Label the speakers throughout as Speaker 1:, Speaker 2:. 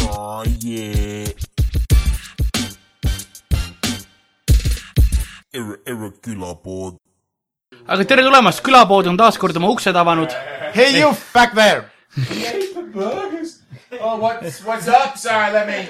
Speaker 1: Oh yeah. Ir- Irregular board.
Speaker 2: aga tere tulemast , külapood on taas kord oma uksed avanud .
Speaker 3: Hey, you back there!
Speaker 4: Oh, what's what's up, sorry, let me.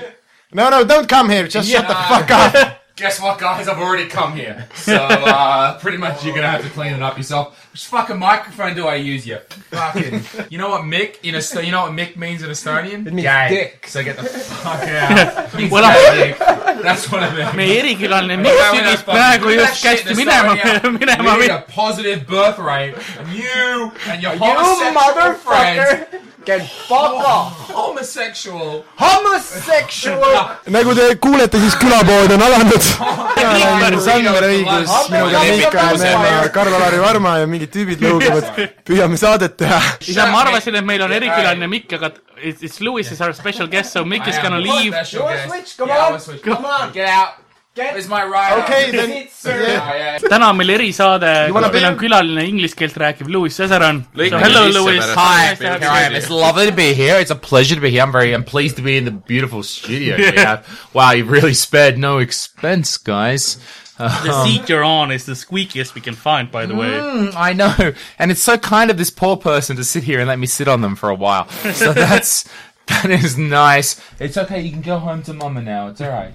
Speaker 3: No, no, don't come here. Just shut the fuck up.
Speaker 4: Guess what, guys? I've already come here, so uh, pretty much you're gonna have to clean it up yourself. Which fucking microphone do I use? You fucking. You know what Mick in a you know what Mick means in Estonian? It means dick. So get the fuck out. It means
Speaker 2: Well, I-
Speaker 4: gay dick. That's what I mean.
Speaker 2: meie erikülaline Mikk südis praegu just kästi minema , minema
Speaker 4: We need a positive birth rate. And you and your homosexual
Speaker 5: motherfucker.
Speaker 4: friends,
Speaker 5: Get fuck off!
Speaker 4: homosexual.
Speaker 5: Homosexual!
Speaker 3: nagu te kuulete , siis külapood on alanud . Sander Õigus , minuga Mikael Meemaa , Karl-Alari Varma ja mingid tüübid lõugavad . püüame saadet teha .
Speaker 2: isa , ma arvasin , et meil on erikülaline Mikk , aga it's, it's Lewis is our special guest , so Mikk is gonna leave .
Speaker 4: Special
Speaker 5: You wanna
Speaker 4: guest.
Speaker 5: switch? Come
Speaker 4: Yeah, I
Speaker 5: on.
Speaker 4: wanna switch.
Speaker 5: Come on!
Speaker 4: Get out.
Speaker 5: Get
Speaker 4: Where's my rider?
Speaker 3: Okay, then-
Speaker 4: Oh, yeah.
Speaker 2: täna on meil erisaade ,
Speaker 3: wanna
Speaker 2: meil on
Speaker 3: beer?
Speaker 2: külaline inglise keelt rääkiv Lewis Cesaron .
Speaker 6: Lõikame
Speaker 2: Hello ,
Speaker 6: sisse
Speaker 2: Lewis
Speaker 6: pärast. .
Speaker 4: Here I am. It's lovely to be here. It's a pleasure to be here. I'm very, I'm pleased to be in the beautiful studio we have. Wow, you've really spared no expense, guys. Uh,
Speaker 2: The seat you are on is the squeakiest we can find , by the way .
Speaker 5: Hmm,
Speaker 4: Mm, I know, and it's so kind of this poor person to sit here and let me sit on them for a while. So that's that is nice. It's okay. You can go home to mama now. It's all right.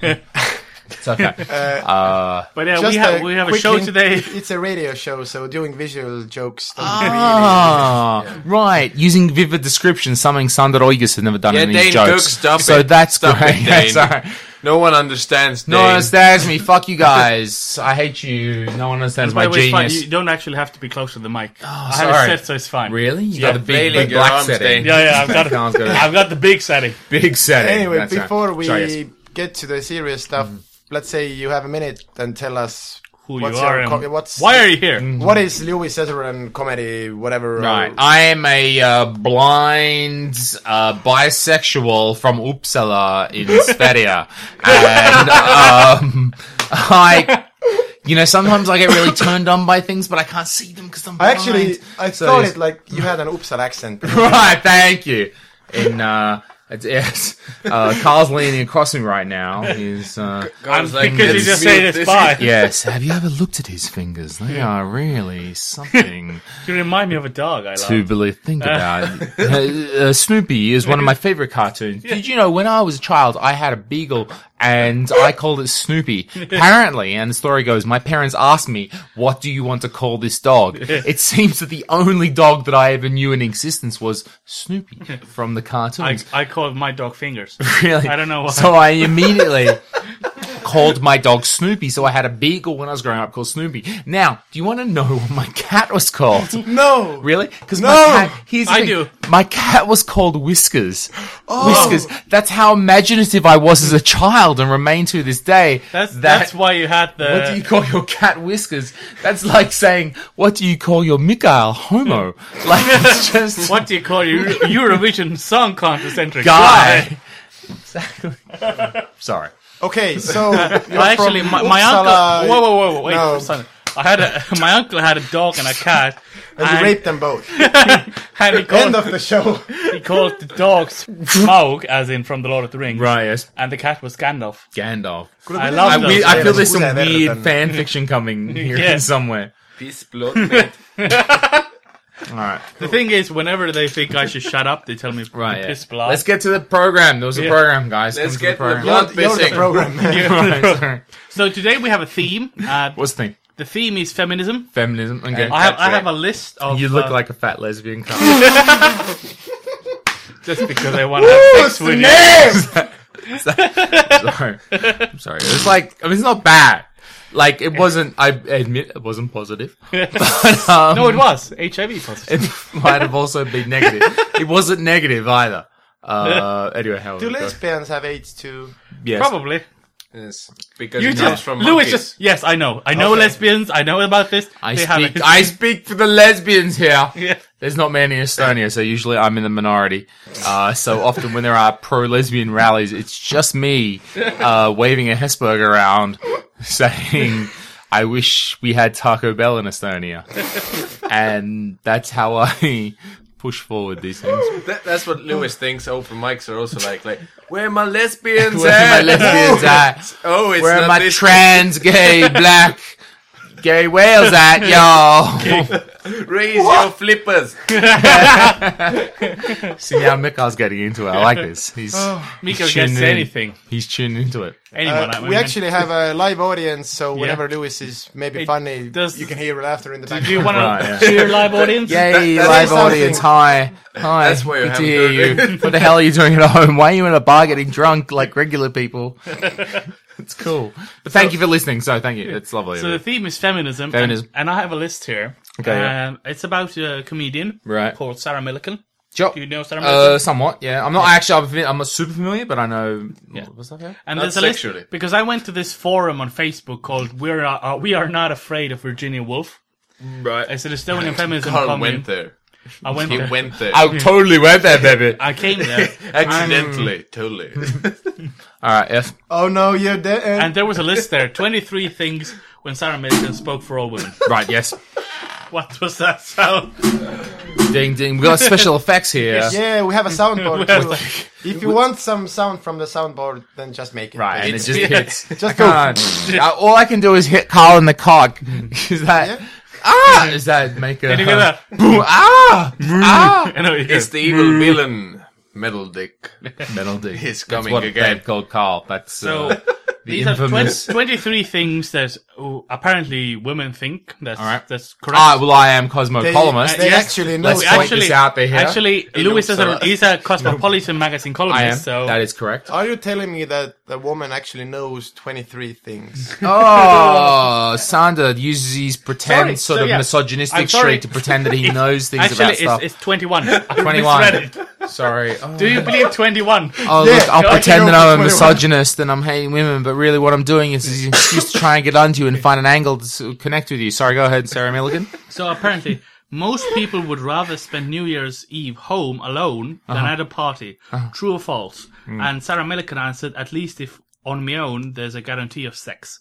Speaker 4: it's okay. Uh,
Speaker 2: But yeah , we have , we have a show today .
Speaker 3: It's a radio show , so doing visual jokes .
Speaker 4: Ah, right. Using vivid description, something Sander Oigus had never done
Speaker 6: Yeah,
Speaker 4: in his
Speaker 6: Dane,
Speaker 4: jokes.
Speaker 6: Cook, stop
Speaker 4: so
Speaker 6: it.
Speaker 4: that's
Speaker 6: Stop
Speaker 4: great.
Speaker 6: it,
Speaker 4: That's
Speaker 6: Dane.
Speaker 4: all right.
Speaker 6: No one understands.
Speaker 4: No one
Speaker 6: Dane.
Speaker 4: understands me. Fuck you guys. I hate you. No one understands my
Speaker 2: By the way, it's fine.
Speaker 4: genius. Oh,
Speaker 2: You don't actually have to be close to the mic . I
Speaker 4: sorry.
Speaker 2: have it set , so it's fine .
Speaker 4: Really? You
Speaker 2: Yeah.
Speaker 4: got the big,
Speaker 6: Flailing
Speaker 4: big
Speaker 6: your
Speaker 4: black
Speaker 6: arms,
Speaker 4: setting.
Speaker 6: Dane.
Speaker 2: yeah , yeah , I've got
Speaker 4: Sounds good.
Speaker 2: I've got the big setting .
Speaker 4: Big setting.
Speaker 3: Anyway ,
Speaker 4: That's right.
Speaker 3: before
Speaker 4: Sorry, yes. Mm-hmm.
Speaker 3: we get to the serious stuff , let's say you have a minute and tell us
Speaker 2: Who
Speaker 3: What's
Speaker 2: you are
Speaker 3: your
Speaker 2: and
Speaker 3: co- what's-
Speaker 2: why are you here ?
Speaker 4: Mm.
Speaker 3: what is Lewis Cesaron comedy , whatever .
Speaker 4: Right. I am a uh, blind uh, bisexual from Uppsala in Sverige. and um, I, you know, sometimes I get really turned on by things, but I can't see them because I'm
Speaker 3: I
Speaker 4: blind.
Speaker 3: actually , I
Speaker 4: So
Speaker 3: thought
Speaker 4: it's-
Speaker 3: it like you had an Uppsala accent .
Speaker 4: right, thank you. And uh, it's, yes, uh, Carl's leaning across me right now. He's uh,
Speaker 6: I was like,
Speaker 2: Because you
Speaker 6: let's
Speaker 2: just
Speaker 6: mute
Speaker 2: say it's
Speaker 6: this.
Speaker 2: fine .
Speaker 4: yes. Have you ever looked at his fingers? They are really something.
Speaker 2: You remind me of a dog I
Speaker 4: to
Speaker 2: love.
Speaker 4: really think about. uh, uh, Snoopy is one of my favorite cartoons. Did you know when I was a child, I had a beagle and I called it Snoopy. Apparently, and the story goes, my parents asked me, "What do you want to call this dog?" It seems that the only dog that I ever knew in existence was Snoopy from the
Speaker 2: I,
Speaker 4: cartoons.
Speaker 2: I call my dog fingers.
Speaker 4: Really?
Speaker 2: I don't know why.
Speaker 4: So I immediately called my dog Snoopy. So I had a beagle when I was growing up called Snoopy. Now, do you want to know what my cat was called?
Speaker 3: no
Speaker 4: Really? Because
Speaker 3: No!
Speaker 4: my cat, here's the
Speaker 2: I
Speaker 4: thing.
Speaker 2: do.
Speaker 4: My cat was called Whiskers. Whiskers. That's how imaginative I was as a child and remain to this day.
Speaker 2: That's
Speaker 4: That-
Speaker 2: that's why you had the.
Speaker 4: What do you call your cat Whiskers? That's like saying, what do you call your Mikael Homo? Like it's just
Speaker 2: what do you call your Eurovision Song Contest entry?
Speaker 4: guy. exactly. Sorry.
Speaker 3: Okay, so
Speaker 2: Well, actually, my, my
Speaker 3: Uppsala.
Speaker 2: uncle. Whoa, whoa, whoa, whoa wait,
Speaker 3: No.
Speaker 2: son. I had a my uncle had a dog and a cat,
Speaker 3: and you raped them both.
Speaker 2: and he
Speaker 3: End
Speaker 2: called
Speaker 3: of the show.
Speaker 2: he called the dog Smaug, as in from the Lord of the Rings,
Speaker 4: Right, yes.
Speaker 2: and the cat was Gandalf.
Speaker 4: Gandalf.
Speaker 2: I love
Speaker 4: I,
Speaker 2: those.
Speaker 4: we, I feel there's
Speaker 3: Yeah,
Speaker 4: some
Speaker 3: better
Speaker 4: weird
Speaker 3: than-
Speaker 4: fan fiction coming here
Speaker 2: Yeah.
Speaker 4: somewhere.
Speaker 6: Peace, blood, mate.
Speaker 4: All right.
Speaker 2: the thing is, whenever they think I should shut up, they tell me
Speaker 4: Right.
Speaker 2: right,
Speaker 4: yeah.
Speaker 2: piss blood.
Speaker 4: Let's get to the program. There was a
Speaker 2: Yeah.
Speaker 4: program, guys.
Speaker 6: Let's
Speaker 4: Come to
Speaker 6: get to the
Speaker 4: program.
Speaker 6: blood
Speaker 3: You're the
Speaker 6: pissing.
Speaker 3: program man.
Speaker 4: Right, sorry.
Speaker 2: So today we have a theme. Uh,
Speaker 4: What's the thing?
Speaker 2: the theme is feminism.
Speaker 4: Feminism. Okay.
Speaker 2: I have I
Speaker 6: That's
Speaker 2: have a
Speaker 6: right.
Speaker 2: list of.
Speaker 4: you look
Speaker 2: uh,
Speaker 4: like a fat lesbian. Carl.
Speaker 2: just because I want to have sex with you.
Speaker 4: sorry. I'm sorry. It's like I mean, it's not bad. Like it wasn't. I admit it wasn't positive. But, um,
Speaker 2: No, it was HIV positive.
Speaker 4: it might have also been negative. It wasn't negative either. Uh, anyway, how
Speaker 3: Do lesbians have AIDS too?
Speaker 4: yes.
Speaker 2: Probably.
Speaker 6: Yes, because
Speaker 2: You
Speaker 6: it comes
Speaker 2: just,
Speaker 6: from
Speaker 2: Louis
Speaker 6: monkeys.
Speaker 2: just, yes, I know. I know lesbians. I know about this.
Speaker 4: I
Speaker 2: They have
Speaker 4: speak.
Speaker 2: it.
Speaker 4: I speak for the lesbians here.
Speaker 2: Yeah.
Speaker 4: There's not many in Estonia, so usually I'm in the minority. Uh, so often when there are pro-lesbian rallies, it's just me uh, waving a Hesburg around, saying, "I wish we had Taco Bell in Estonia," and that's how I push forward these things.
Speaker 6: That, that's what Lewis thinks. Open mics are also like, like, where are my lesbians
Speaker 4: Where
Speaker 6: at?
Speaker 4: my lesbians at?
Speaker 6: Oh, it's
Speaker 4: Where
Speaker 6: not
Speaker 4: my
Speaker 6: this-
Speaker 4: trans, gay, black, gay whales at, y'all?
Speaker 6: Raise your flippers.
Speaker 4: See now Mikhail's getting into it. I like this. He's
Speaker 2: Miko
Speaker 4: he's
Speaker 2: gets
Speaker 4: tuning in.
Speaker 2: anything.
Speaker 4: He's tuned into it.
Speaker 2: Anyone. I
Speaker 3: Uh, we
Speaker 2: mean.
Speaker 3: actually have a live audience, so whenever Lewis is maybe
Speaker 2: It
Speaker 3: funny,
Speaker 2: does-
Speaker 3: you can hear laughter in the
Speaker 2: Do you
Speaker 3: background.
Speaker 2: want
Speaker 4: Right, yeah.
Speaker 2: to cheer live audience?
Speaker 4: Yay,
Speaker 6: that-
Speaker 4: live
Speaker 3: is something.
Speaker 4: audience. Hi. Hi.
Speaker 6: That's why you
Speaker 4: Good to
Speaker 6: haven't
Speaker 4: hear
Speaker 6: heard
Speaker 4: you. what the hell are you doing at home? Why are you in a bar getting drunk like regular people? it's cool. But thank you for listening. So thank you. It's lovely.
Speaker 2: So the theme is feminism, and-
Speaker 4: Feminism.
Speaker 2: And, I have a list here.
Speaker 4: Okay, yeah.
Speaker 2: Um, it's about a comedian
Speaker 4: Right.
Speaker 2: called Sarah Millican.
Speaker 4: Sure.
Speaker 2: Do you know Sarah Millican?
Speaker 4: Uh, somewhat, yeah. I'm not actually. I'm, fami- I'm not super familiar, but I know. What's that? here?
Speaker 2: and
Speaker 6: not
Speaker 2: there's a list
Speaker 6: sexually.
Speaker 2: because I went to this forum on Facebook called "We're Not- uh, We Are Not Afraid of Virginia Woolf."
Speaker 6: Right.
Speaker 2: It's an Estonian feminism
Speaker 6: Carl
Speaker 2: commune.
Speaker 6: went there.
Speaker 2: I went
Speaker 6: He
Speaker 2: there.
Speaker 6: went there.
Speaker 4: I totally went there, baby.
Speaker 2: I came there,
Speaker 6: Accidentally. Totally.
Speaker 4: All right, yes.
Speaker 3: Oh no, you're dead.
Speaker 2: and there was a list there: twenty-three things when Sarah Millican spoke for all women.
Speaker 4: Right, yes.
Speaker 2: What was that sound?
Speaker 4: Ding, ding. We got special effects here.
Speaker 3: yeah, we have a soundboard
Speaker 2: Well,
Speaker 3: too. if you want some sound from the soundboard, then just make it.
Speaker 4: Right, and it
Speaker 6: It's-
Speaker 4: just hits.
Speaker 3: Just go.
Speaker 4: God. I- all I can do is hit Carl in the cock. Is that
Speaker 3: Yeah.
Speaker 4: ah? Is that make a
Speaker 2: Did you hear that?
Speaker 4: boom? Ah, ah.
Speaker 2: I know you
Speaker 6: It's
Speaker 2: hear.
Speaker 6: the evil villain, Metal Dick.
Speaker 4: Metal D.
Speaker 6: He's
Speaker 4: That's
Speaker 6: coming
Speaker 4: what
Speaker 6: again.
Speaker 4: They've called Carl. That's
Speaker 2: So,
Speaker 4: uh, the
Speaker 2: These are
Speaker 4: infamous.
Speaker 2: 20, 23 things that oh, apparently women think. That's
Speaker 4: All right.
Speaker 2: that's correct.
Speaker 4: Ah, well, I am Cosmo
Speaker 3: They,
Speaker 4: columnist.
Speaker 3: they
Speaker 2: Yes.
Speaker 3: actually know.
Speaker 4: Let's
Speaker 2: We
Speaker 3: it.
Speaker 4: point this out there.
Speaker 2: Actually, Lewis is a,
Speaker 6: Uppsala.
Speaker 2: he's a cosmopolitan magazine columnist.
Speaker 4: I am.
Speaker 2: So
Speaker 4: That is correct.
Speaker 3: Are you telling me that the woman actually knows 23 things?
Speaker 4: Oh, Sander uses his pretend
Speaker 2: Sorry,
Speaker 4: sort
Speaker 2: so
Speaker 4: of
Speaker 2: yeah.
Speaker 4: misogynistic
Speaker 2: I'm sorry.
Speaker 4: streak to pretend that he knows things about
Speaker 2: actually
Speaker 4: stuff.
Speaker 2: it's, it's twenty one. Twenty
Speaker 4: 21.
Speaker 2: one.
Speaker 4: Sorry. Oh.
Speaker 2: Do you believe twenty one?
Speaker 4: Oh,
Speaker 3: Yeah,
Speaker 4: look, I'll
Speaker 3: I
Speaker 4: pretend
Speaker 3: can
Speaker 4: that I'm a
Speaker 3: always
Speaker 4: misogynist and I'm hating women, but really what I'm doing is, is an excuse to try and get onto you and find an angle to s- connect with you. Sorry, go ahead, Sarah Milligan.
Speaker 2: So apparently, most people would rather spend New Year's Eve home alone
Speaker 4: Uh-huh.
Speaker 2: than at a party. True or false?
Speaker 4: Mm.
Speaker 2: And Sarah Millican answered, "At least if on my own, there's a guarantee of sex."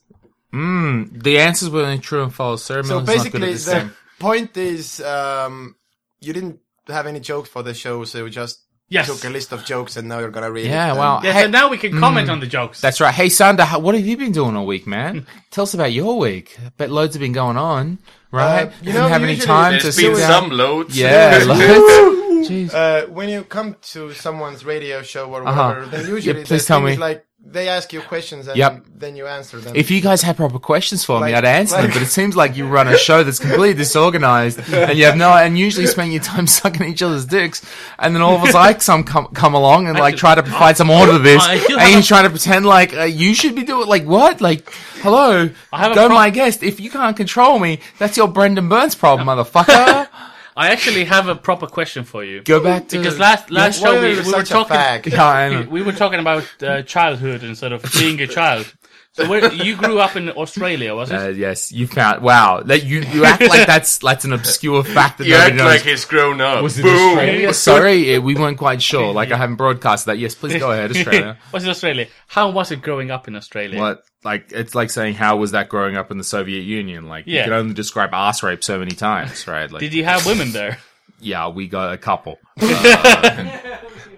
Speaker 4: Hmm, The answers were only true and false. Sarah
Speaker 3: So
Speaker 4: Milligan's not good at
Speaker 3: basically,
Speaker 4: this
Speaker 3: the
Speaker 4: thing.
Speaker 3: point is, um, you didn't have any jokes for the show, so you just
Speaker 2: Yes.
Speaker 3: took a list of jokes and now you're gonna read.
Speaker 4: Yeah,
Speaker 3: it, and-
Speaker 4: wow.
Speaker 2: Yeah.
Speaker 4: Hey-
Speaker 2: so now we can comment on the jokes.
Speaker 4: Hmm. That's right. Hey, Sander, how- what have you been doing all week, man? Tell us about your week. I bet loads have been going on, right?
Speaker 3: Uh, you
Speaker 4: you
Speaker 3: know,
Speaker 4: didn't have any
Speaker 3: usually
Speaker 4: time to
Speaker 6: There's
Speaker 4: sit
Speaker 6: been
Speaker 4: down.
Speaker 6: some loads.
Speaker 4: Yeah, loads. Jeez.
Speaker 3: Uh, when you come to someone's radio show or
Speaker 4: Uh-huh.
Speaker 3: whatever, then
Speaker 4: Yeah,
Speaker 3: usually
Speaker 4: please
Speaker 3: the
Speaker 4: tell
Speaker 3: thing
Speaker 4: me.
Speaker 3: is like they ask you questions and
Speaker 4: Yep.
Speaker 3: then you answer them.
Speaker 4: If you guys had proper questions for me,
Speaker 3: Like-
Speaker 4: I'd answer them.
Speaker 3: like-
Speaker 4: But it seems like you run a show that's completely disorganized, and you have no, and usually spend your time sucking each other's dicks, and then all of us like some come come along and like try to provide some order to this,
Speaker 2: I do
Speaker 4: and
Speaker 2: have
Speaker 4: you
Speaker 2: a-
Speaker 4: try to pretend like uh, you should be doing like what, like hello,
Speaker 2: have a
Speaker 4: go
Speaker 2: pro-
Speaker 4: my guest. If you can't control me, that's your Brendan Burns problem, motherfucker.
Speaker 2: I actually have a proper question for you.
Speaker 4: Go back to
Speaker 2: Because last last
Speaker 3: Why
Speaker 2: show
Speaker 3: are
Speaker 2: we,
Speaker 3: you
Speaker 2: we were
Speaker 3: such a
Speaker 2: talking
Speaker 3: fag?
Speaker 4: Yeah, I
Speaker 2: we,
Speaker 4: know.
Speaker 2: we were talking about uh, childhood and sort of being a child. So where, you grew up in Australia, was
Speaker 4: Uh,
Speaker 2: it?
Speaker 4: yes, you found. Wow, that you you act like that's that's an obscure fact that
Speaker 6: You
Speaker 4: nobody
Speaker 6: act
Speaker 4: knows.
Speaker 6: like he's grown up.
Speaker 4: Was it
Speaker 6: Boom.
Speaker 4: Australia? Sorry, eh, we weren't quite sure. Like, I haven't broadcast that. Yes, please go ahead, Australia.
Speaker 2: was it Australia? How was it growing up in Australia?
Speaker 4: What? Like, it's like saying, how was that growing up in the Soviet Union? Like, you
Speaker 2: Yeah.
Speaker 4: can only describe ass rape so many times, right? Like,
Speaker 2: Did you have women there?
Speaker 4: yeah, we got a couple. Uh,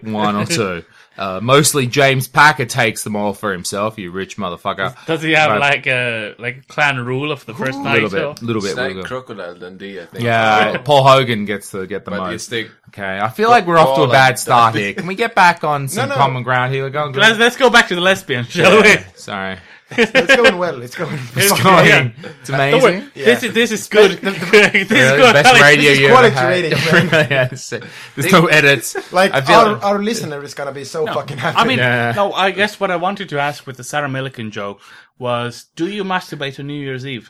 Speaker 4: one or two. Uh, mostly James Packer takes them all for himself, you rich motherfucker.
Speaker 2: Does he have
Speaker 4: Right.
Speaker 2: like a like clan rule of the first
Speaker 4: A little
Speaker 2: night? or-
Speaker 4: bit, little bit.
Speaker 6: It's like
Speaker 4: little bit.
Speaker 6: Crocodile Dundee, I think.
Speaker 4: Yeah, Paul Hogan gets to get the
Speaker 6: But
Speaker 4: most.
Speaker 6: it's the
Speaker 4: Okay, I feel like we're off to a
Speaker 6: Paul
Speaker 4: bad
Speaker 6: and-
Speaker 4: start here. Can we get back on some
Speaker 3: no.
Speaker 4: common ground here? We're going
Speaker 2: Let's,
Speaker 4: good.
Speaker 2: let's go back to the lesbian, shall
Speaker 4: Sorry.
Speaker 3: it's going well, it's going.
Speaker 2: we?
Speaker 4: It's going. It's
Speaker 2: Don't worry.
Speaker 4: amazing.
Speaker 2: This is this is good. this is
Speaker 4: Really,
Speaker 2: good.
Speaker 4: Best
Speaker 2: Alex.
Speaker 4: radio you
Speaker 3: quality
Speaker 4: ever
Speaker 3: radio,
Speaker 4: had. Yes. There's no edits.
Speaker 3: Like
Speaker 4: I feel
Speaker 3: our, our listener is gonna be so fucking happy.
Speaker 2: I mean,
Speaker 4: Yeah.
Speaker 2: no. I guess what I wanted to ask with the Sarah Millican joke was, do you masturbate on New Year's Eve?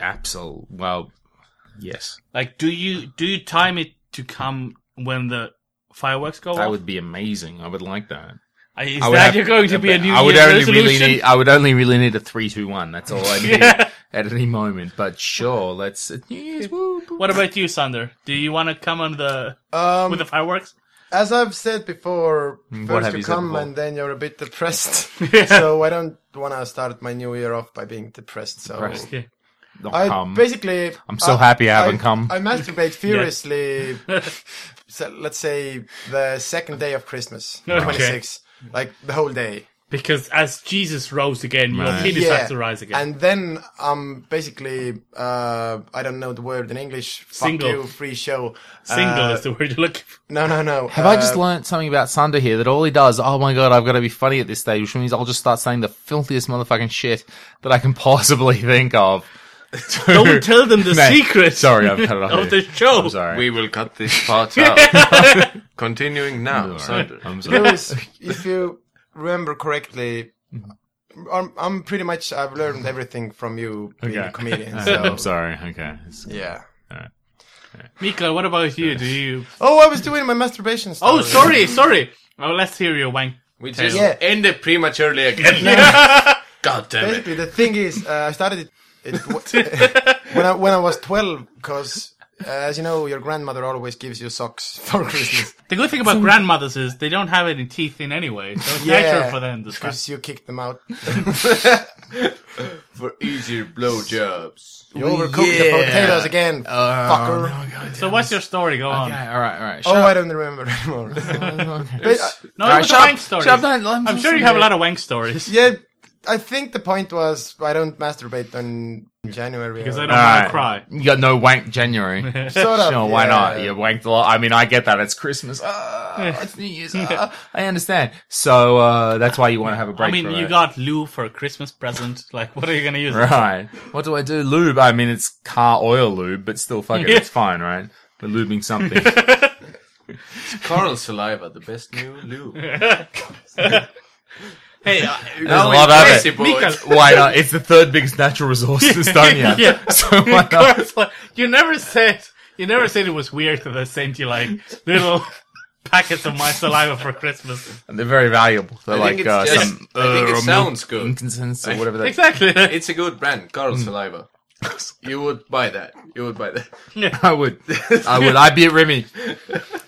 Speaker 4: Absol. Well, yes,
Speaker 2: Like, do you do you time it to come when the fireworks go
Speaker 4: that
Speaker 2: off?
Speaker 4: would be amazing. I would like that.
Speaker 2: Is
Speaker 4: I would
Speaker 2: that
Speaker 4: have-
Speaker 2: you're going to be a New
Speaker 4: I would
Speaker 2: Year's
Speaker 4: only
Speaker 2: resolution?
Speaker 4: really need. I would only really need a three, two, one. That's all I need
Speaker 2: Yeah.
Speaker 4: at any moment. But sure, let's. New Year's. Woo, woo.
Speaker 2: What about you, Sander? Do you want to come on the
Speaker 3: um,
Speaker 2: with the fireworks?
Speaker 3: As I've said before,
Speaker 4: Mm, what
Speaker 3: first
Speaker 4: have
Speaker 3: you
Speaker 4: you said
Speaker 3: come
Speaker 4: before?
Speaker 3: and then you're a bit depressed.
Speaker 2: Yeah.
Speaker 3: So I don't want to start my new year off by being depressed. So
Speaker 5: Um,
Speaker 4: Depressed.
Speaker 2: Okay.
Speaker 4: not
Speaker 5: I
Speaker 4: come.
Speaker 5: basically.
Speaker 4: I'm so happy I haven't
Speaker 5: I,
Speaker 4: come.
Speaker 5: I masturbate furiously. so, let's say the second day of Christmas,
Speaker 2: Okay.
Speaker 5: 26, like the whole day.
Speaker 2: Because as Jesus rose again, your
Speaker 4: Right.
Speaker 2: penis has to rise again.
Speaker 5: And then I'm basically uh, I don't know the word in English. Fuck
Speaker 2: Single.
Speaker 5: you, free show.
Speaker 2: Single
Speaker 5: Uh,
Speaker 2: is the word you're looking for.
Speaker 5: no, no, no. Uh,
Speaker 4: Have I
Speaker 2: Uh,
Speaker 4: just learnt something about Sunder here that all he does, oh my god, I've got to be funny at this stage, which means I'll just start saying the filthiest motherfucking shit that I can possibly think of. to-
Speaker 2: Don't tell them the
Speaker 4: Mate,
Speaker 2: secret.
Speaker 4: Sorry, I've cut it off.
Speaker 2: Of
Speaker 4: here.
Speaker 2: the show.
Speaker 4: I'm sorry. Oh.
Speaker 6: We will cut this part out. Continuing now. Sander.
Speaker 4: I'm sorry.
Speaker 5: Lewis, if you remember correctly, I'm, I'm pretty much I've learned everything from you being
Speaker 4: Okay.
Speaker 5: a comedian. So
Speaker 4: Oh, I'm sorry. Okay. It's-
Speaker 5: yeah.
Speaker 2: Mika, what about you? Do you?
Speaker 5: Oh, I was doing my masturbation. Story.
Speaker 2: Oh, sorry, sorry. Oh, let's hear your wank.
Speaker 6: We just
Speaker 5: Yeah.
Speaker 6: ended prematurely again. God damn it.
Speaker 5: Basically, the thing is, uh, I started it, it w- when I when I was twelve because. Uh, as you know, your grandmother always gives you socks for Christmas
Speaker 2: The good thing about grandmothers is they don't have any teeth in anyway, so it's
Speaker 5: Yeah.
Speaker 2: natural for them to start.
Speaker 5: because you kicked them out.
Speaker 6: For easier blowjobs.
Speaker 5: You overcooked the potatoes again, fucker.
Speaker 2: So what's your story? Go on.
Speaker 4: Okay, all right, all right.
Speaker 5: Oh,
Speaker 4: Shut up.
Speaker 5: I don't remember anymore. But, uh,
Speaker 2: No, it was a
Speaker 4: shut up,
Speaker 2: wank story.
Speaker 4: shut up, don't- let me
Speaker 2: I'm sure you
Speaker 4: listen
Speaker 2: have a
Speaker 4: here.
Speaker 2: lot of wank stories.
Speaker 5: yeah, I think the point was I don't masturbate on January.
Speaker 2: Because
Speaker 5: or-
Speaker 3: Uh,
Speaker 2: I don't
Speaker 4: All
Speaker 2: want
Speaker 4: right.
Speaker 2: to cry.
Speaker 4: You got no wank January.
Speaker 5: Sort of,
Speaker 4: Sure, why
Speaker 5: yeah.
Speaker 4: not? You wanked a lot. I mean, I get that. It's Christmas. Ah, it's New Year's. Ah, I understand. So uh, that's why you want to have a break.
Speaker 2: I mean,
Speaker 4: from
Speaker 2: you
Speaker 4: it.
Speaker 2: got Lou for a Christmas present. Like, what are you going to use? it
Speaker 4: right. What do I do? Lube. I mean, it's car oil lube, but still, fuck it. It's fine, right? We're lubing something.
Speaker 6: Coral saliva, the best new lube.
Speaker 2: Hey, uh,
Speaker 4: There's a
Speaker 6: Now
Speaker 4: lot of it.
Speaker 6: it's crazy, boys.
Speaker 4: why not? It's the third biggest natural resource in Estonia.
Speaker 2: Yeah.
Speaker 4: So why not?
Speaker 2: Carl's like, you never said you never said it was weird that I sent you like little packets of my saliva for Christmas.
Speaker 4: And they're very valuable. They're
Speaker 6: I think
Speaker 4: like
Speaker 6: it's
Speaker 4: uh,
Speaker 6: just-
Speaker 4: some.
Speaker 6: I think it
Speaker 4: uh,
Speaker 6: sounds good.
Speaker 4: Inconsistence or whatever. That,
Speaker 2: Exactly.
Speaker 6: It's a good brand, Coral
Speaker 4: Mm.
Speaker 6: saliva. You would buy that. You would buy that.
Speaker 4: I would. I would. I'd be at Remy.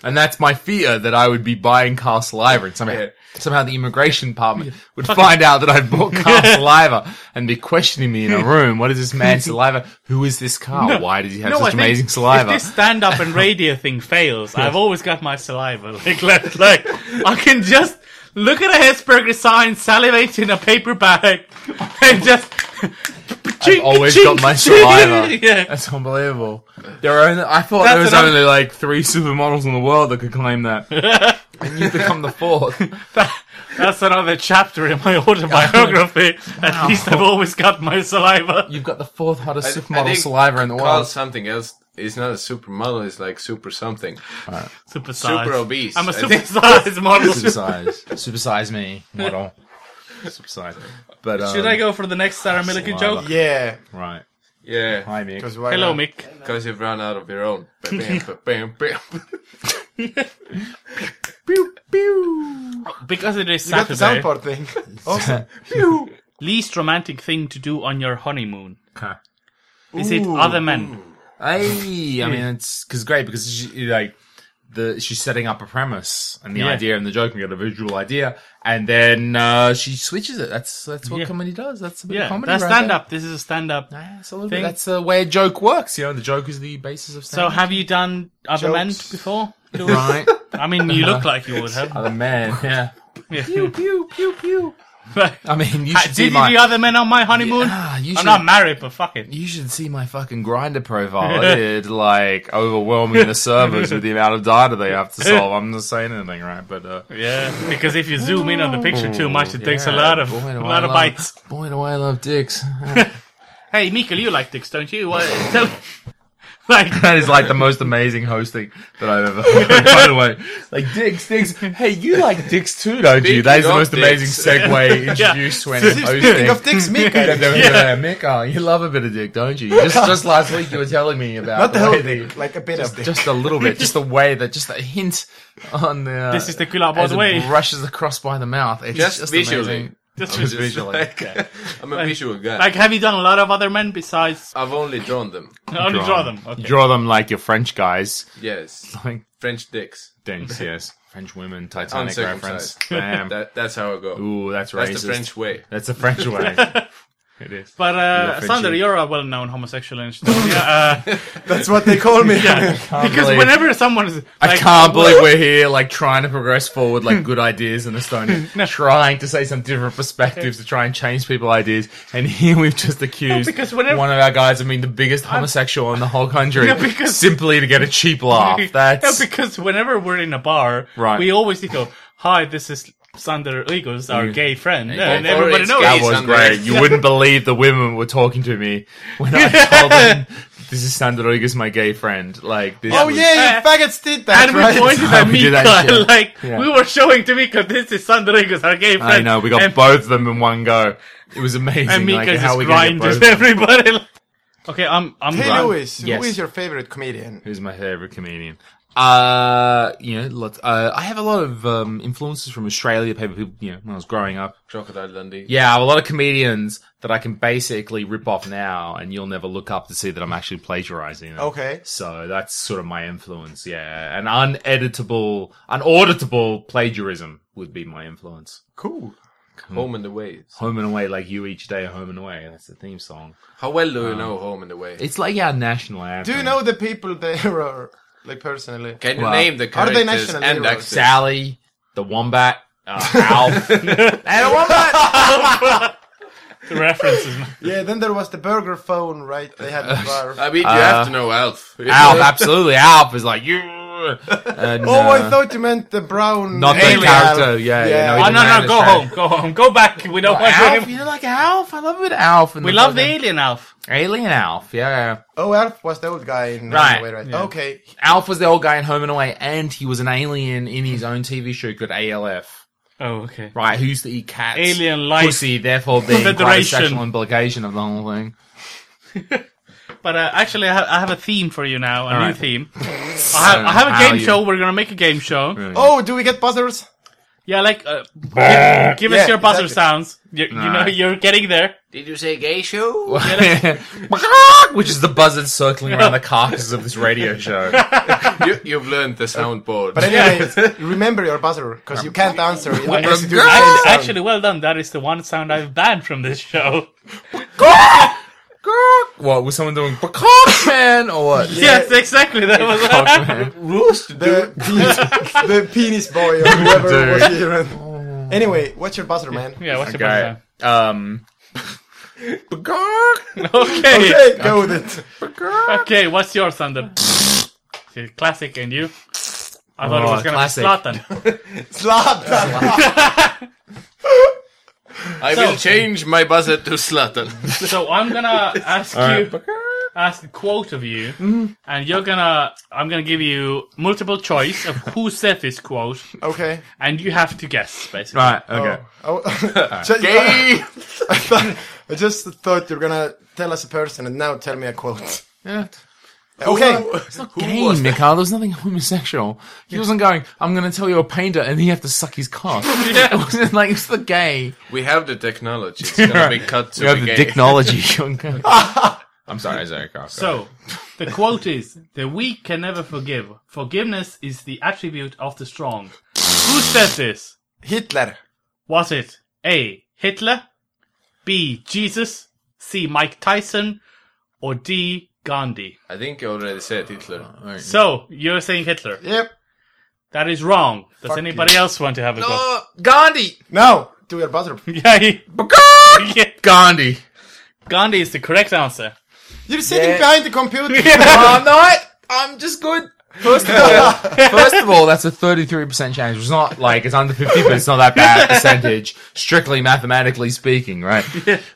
Speaker 4: And that's my fear that I would be buying Carl Saliva. And somehow,
Speaker 6: Yeah.
Speaker 4: somehow the immigration department would find out that I bought Carl Saliva and be questioning me in a room. What is this man's saliva? Who is this Carl? Why does he have such amazing saliva?
Speaker 2: If this stand up and radio thing fails, I've always got my saliva like left. Like I can just look at a Hesburger sign, salivate in a paper bag, and just.
Speaker 4: I've always got my saliva.
Speaker 2: yeah.
Speaker 4: That's unbelievable. There are only, I thought there
Speaker 2: That's
Speaker 4: was
Speaker 2: another-
Speaker 4: only like three supermodels in the world that could claim that. and you become the fourth.
Speaker 2: That's another chapter in my autobiography.
Speaker 4: Oh.
Speaker 2: At least I've always got my saliva.
Speaker 4: You've got the fourth hottest
Speaker 6: I
Speaker 4: supermodel
Speaker 6: think
Speaker 4: saliva in the
Speaker 6: Call
Speaker 4: world.
Speaker 6: something else. It's not a supermodel. It's like super something.
Speaker 2: Super
Speaker 6: Super obese.
Speaker 2: I'm a
Speaker 6: I
Speaker 2: super
Speaker 6: think-
Speaker 2: size model.
Speaker 4: Supersize. Supersize me, model. Supersize. But, um,
Speaker 2: Should I go for the next Sarah Milliken
Speaker 4: saliva.
Speaker 2: joke?
Speaker 5: Yeah,
Speaker 4: Right.
Speaker 6: Yeah,
Speaker 4: Hi, Mick.
Speaker 5: because why?
Speaker 2: Hello,
Speaker 5: not?
Speaker 2: Mick.
Speaker 6: because you've run out of your own. Ba-bam, ba-bam, bam.
Speaker 2: Because it is
Speaker 5: You got the
Speaker 2: Saturday,
Speaker 5: soundboard thing. awesome.
Speaker 2: least romantic thing to do on your honeymoon.
Speaker 4: Okay.
Speaker 2: Is it other men?
Speaker 4: Hey, I mean, it's cause great because she, like the she's setting up a premise and the
Speaker 2: Yeah.
Speaker 4: idea and the joke and you got a visual idea, and then uh, she switches it. That's that's what
Speaker 2: Yeah.
Speaker 4: comedy does. That's a bit of
Speaker 2: Yeah,
Speaker 4: comedy.
Speaker 2: that's
Speaker 4: right
Speaker 2: stand
Speaker 4: there.
Speaker 2: up. This is a stand up.
Speaker 4: Yeah, it's a little
Speaker 2: thing.
Speaker 4: bit. That's uh, where joke works. You know, the joke is the basis of
Speaker 2: So,
Speaker 4: stand.
Speaker 2: have you done other men
Speaker 5: Jokes.
Speaker 2: before? Louis?
Speaker 4: right?
Speaker 2: I mean, you
Speaker 4: Uh-huh.
Speaker 2: look like you would have.
Speaker 4: Other man. Yeah.
Speaker 2: Yeah.
Speaker 4: Pew pew pew. I mean, you should
Speaker 2: Uh, Did
Speaker 4: see
Speaker 2: you
Speaker 4: my.
Speaker 2: do other men on my honeymoon?
Speaker 4: Ah, you
Speaker 2: I'm
Speaker 4: should-
Speaker 2: not married, but fuck it.
Speaker 4: You should see my fucking grinder profile. It is like overwhelming the servers with the amount of data they have to solve. I'm not saying anything, right? But uh,
Speaker 2: Yeah, because if you zoom in on the picture too much, it takes a lot of
Speaker 4: Boy,
Speaker 2: a
Speaker 4: do I
Speaker 2: lot of
Speaker 4: love-
Speaker 2: bites.
Speaker 4: Boy, do I love dicks.
Speaker 2: Hey, Mikael, you like dicks, don't you? What, tell, like,
Speaker 4: that is like the most amazing hosting that I've ever heard, by the way. Like, dicks, dicks. Hey, you like dicks too, don't you? That is the
Speaker 6: Speaking
Speaker 4: most
Speaker 6: of
Speaker 4: amazing
Speaker 6: dicks.
Speaker 4: segue introduced when hosting.
Speaker 5: Speaking of dicks,
Speaker 4: Yeah,
Speaker 5: Mika.
Speaker 4: yeah, yeah, Mick, oh, you love a bit of dick, don't you? Just, just last week you were telling me about
Speaker 5: Not the whole
Speaker 4: way
Speaker 5: thing, like a bit of
Speaker 4: that-
Speaker 5: dick.
Speaker 4: just a little bit, just the way that, just a hint on the. uh,
Speaker 2: This is the Kulabod
Speaker 4: as it
Speaker 2: way.
Speaker 4: Brushes across by the mouth. It's
Speaker 6: Just
Speaker 4: just,
Speaker 6: visually.
Speaker 4: amazing.
Speaker 2: just,
Speaker 4: Just
Speaker 6: Just
Speaker 4: visually.
Speaker 6: like- I'm a visual guy.
Speaker 2: like, have you done a lot of other men besides?
Speaker 6: I've only drawn them.
Speaker 2: Only draw them. Okay.
Speaker 4: Draw them like your French guys.
Speaker 6: Yes,
Speaker 4: Like,
Speaker 6: French dicks.
Speaker 4: Thanks, yes. French women, Titanic reference.
Speaker 6: Uncircumcised.
Speaker 4: Bam.
Speaker 6: That, that's how I go.
Speaker 4: Ooh, that's
Speaker 6: that's
Speaker 4: racist.
Speaker 6: the French way.
Speaker 4: That's the French way.
Speaker 2: It is. But uh, Sander, you're a well-known homosexual in Estonia. Uh,
Speaker 3: That's what they call me.
Speaker 2: yeah, because
Speaker 4: believe-
Speaker 2: whenever someone is,
Speaker 4: I
Speaker 2: like, Hmm.
Speaker 4: can't believe we're here, like trying to progress forward, like good ideas in Estonia, trying to say some different perspectives to try and change people's ideas. And here we've just accused
Speaker 2: because whenever-
Speaker 4: one of our guys of being the biggest homosexual in the whole country
Speaker 2: Yeah, because-
Speaker 4: simply to get a cheap laugh. That's
Speaker 2: Yeah, because whenever we're in a bar,
Speaker 4: Right.
Speaker 2: we always go, "Hi, this is Sander Eagles, our gay friend," and
Speaker 6: Or
Speaker 2: everybody
Speaker 6: it's
Speaker 2: knows.
Speaker 6: gay
Speaker 4: that was
Speaker 6: Sandra.
Speaker 4: great. You wouldn't believe the women were talking to me when I told them this is Sandra Rodriguez, my gay friend. Like this.
Speaker 3: Oh
Speaker 4: was-
Speaker 3: yeah, you faggots did that,
Speaker 2: and we
Speaker 3: right?
Speaker 2: pointed
Speaker 4: How
Speaker 2: at
Speaker 4: we do that
Speaker 2: Mika,
Speaker 4: shit.
Speaker 2: like
Speaker 4: Yeah.
Speaker 2: we were showing to Mika, "This is Sander Eagles, our gay friend."
Speaker 4: I know we got
Speaker 2: and,
Speaker 4: both of them in one go. It was amazing.
Speaker 2: and Mika
Speaker 4: like, how
Speaker 2: just
Speaker 4: we gonna get both of
Speaker 2: grinded
Speaker 4: them.
Speaker 2: everybody. okay, I'm. I'm.
Speaker 3: Hey
Speaker 2: done.
Speaker 3: Lewis,
Speaker 4: Yes.
Speaker 3: who is your favorite comedian?
Speaker 4: Who's my favorite comedian? Uh, you know, lots, uh, I have a lot of um, influences from Australia, people, you know, when I was growing up.
Speaker 6: Crocodile Dundee.
Speaker 4: Yeah, I have a lot of comedians that I can basically rip off now, and you'll never look up to see that I'm actually plagiarizing. Them.
Speaker 3: Okay.
Speaker 4: So that's sort of my influence, yeah. An uneditable, unauditable plagiarism would be my influence.
Speaker 3: Cool.
Speaker 4: Hmm.
Speaker 6: Home and Away.
Speaker 4: Home and Away, like you each day, Home and Away. That's the theme song.
Speaker 6: How well do you know Home and Away?
Speaker 4: It's like our national anthem.
Speaker 3: Do you know the people there are like personally?
Speaker 6: Can you
Speaker 4: Wow.
Speaker 6: name the
Speaker 3: Are they
Speaker 6: characters
Speaker 3: national
Speaker 6: and
Speaker 3: heroes?
Speaker 6: actors?
Speaker 4: Sally, the Wombat, uh, Alf.
Speaker 3: And one more-
Speaker 2: The references.
Speaker 3: yeah, then there was the burger phone, right? They had the bar.
Speaker 6: I mean, you have to know Alf.
Speaker 4: Uh, Alf, absolutely. Alf is like you. And,
Speaker 3: Oh, I
Speaker 4: uh,
Speaker 3: thought you meant the brown.
Speaker 4: not the
Speaker 3: alien.
Speaker 4: character. Yeah, yeah.
Speaker 3: Yeah.
Speaker 4: no, he
Speaker 2: Oh
Speaker 4: didn't
Speaker 2: no, no,
Speaker 4: understand.
Speaker 2: go home, go home, go back. We don't want
Speaker 4: Alf,
Speaker 2: him.
Speaker 4: you know, like Alf. I love it, Alf. And
Speaker 2: We love the
Speaker 4: fucking-
Speaker 2: alien Alf.
Speaker 4: alien Alf. Yeah, yeah.
Speaker 3: Oh, Alf was the old guy in
Speaker 4: Right.
Speaker 3: Way, right? Okay.
Speaker 4: Alf was the old guy in Home and Away, and he was an alien in his own TV show called ALF.
Speaker 2: Oh, okay.
Speaker 4: Right, who used to eat cats,
Speaker 2: Alien life.
Speaker 4: pussy, therefore being quite a
Speaker 2: Federation.
Speaker 4: sexual implication of the whole thing.
Speaker 2: But uh, actually, I have, I have a theme for you now, a new
Speaker 4: right.
Speaker 2: theme. I have, I have a
Speaker 4: How
Speaker 2: game
Speaker 4: you-
Speaker 2: show. We're gonna make a game show.
Speaker 3: Oh, do we get buzzers?
Speaker 2: Yeah, like uh, give, give us
Speaker 3: Yeah,
Speaker 2: your buzzer
Speaker 3: exactly.
Speaker 2: sounds. You, you know,
Speaker 4: Alright.
Speaker 2: you're getting there.
Speaker 6: Did you say gay show?
Speaker 4: Which is the buzzard circling around the carcasses of this radio show.
Speaker 6: you, you've learned the soundboard.
Speaker 3: But anyways, remember your buzzer because you can't answer it unless you do.
Speaker 4: Girl!
Speaker 3: the
Speaker 2: Actually,
Speaker 3: sound.
Speaker 2: actually, well done. That is the one sound I've banned from this show.
Speaker 4: Ah! What was someone doing? man or what?
Speaker 2: Yes, exactly. That was.
Speaker 3: the penis, the penis boy or whoever
Speaker 4: Dude.
Speaker 3: was here. and- Anyway, what's your buzzer, man?
Speaker 2: yeah, what's your
Speaker 4: Okay.
Speaker 2: buzzer?
Speaker 4: Um.
Speaker 2: Okay. okay,
Speaker 3: Okay, go with it.
Speaker 2: What's your Sander? Okay, Classic, and you? I thought it
Speaker 4: Oh,
Speaker 2: was gonna
Speaker 4: classic.
Speaker 2: be Slatan.
Speaker 3: Slap.
Speaker 6: I will change my buzzer to Slatan.
Speaker 2: So I'm gonna ask you, ask a quote of you, and you're gonna, I'm gonna give you multiple choice of who said this quote,
Speaker 3: Okay.
Speaker 2: and you have to guess, basically.
Speaker 4: Right. Okay.
Speaker 3: Oh, just,
Speaker 6: Gay!
Speaker 3: I, thought, I just thought you're gonna tell us a person and now tell me a quote.
Speaker 4: Yeah.
Speaker 3: Okay.
Speaker 4: Game, Mikhail. There was nothing homosexual. He wasn't going. I'm going to tell you a painter, and you have to suck his cock. It wasn't like it's the gay.
Speaker 6: We have the technology. It's gonna be cut to
Speaker 4: You have
Speaker 6: the
Speaker 4: the
Speaker 6: gay.
Speaker 4: technology. I'm sorry, sorry, Carl.
Speaker 2: So, the quote is, the weak can never forgive. Forgiveness is the attribute of the strong. Who said this?
Speaker 3: Hitler.
Speaker 2: Was it A. Hitler, B. Jesus, C. Mike Tyson, or D. Gandhi?
Speaker 6: I think you already said Hitler.
Speaker 2: So, you're saying Hitler.
Speaker 3: Yep.
Speaker 2: That is wrong. Does
Speaker 3: Fuck
Speaker 2: anybody else want to have a go?
Speaker 4: Gandhi.
Speaker 3: Now do your buzzer.
Speaker 2: Yeah, he- yeah.
Speaker 4: Gandhi.
Speaker 2: Gandhi is the correct answer.
Speaker 3: You're sitting behind the computer.
Speaker 4: I'm not. I'm just good. First of all, first of all, that's a 33% chance. It's not like it's under 50, but it's not that bad percentage, strictly mathematically speaking, right?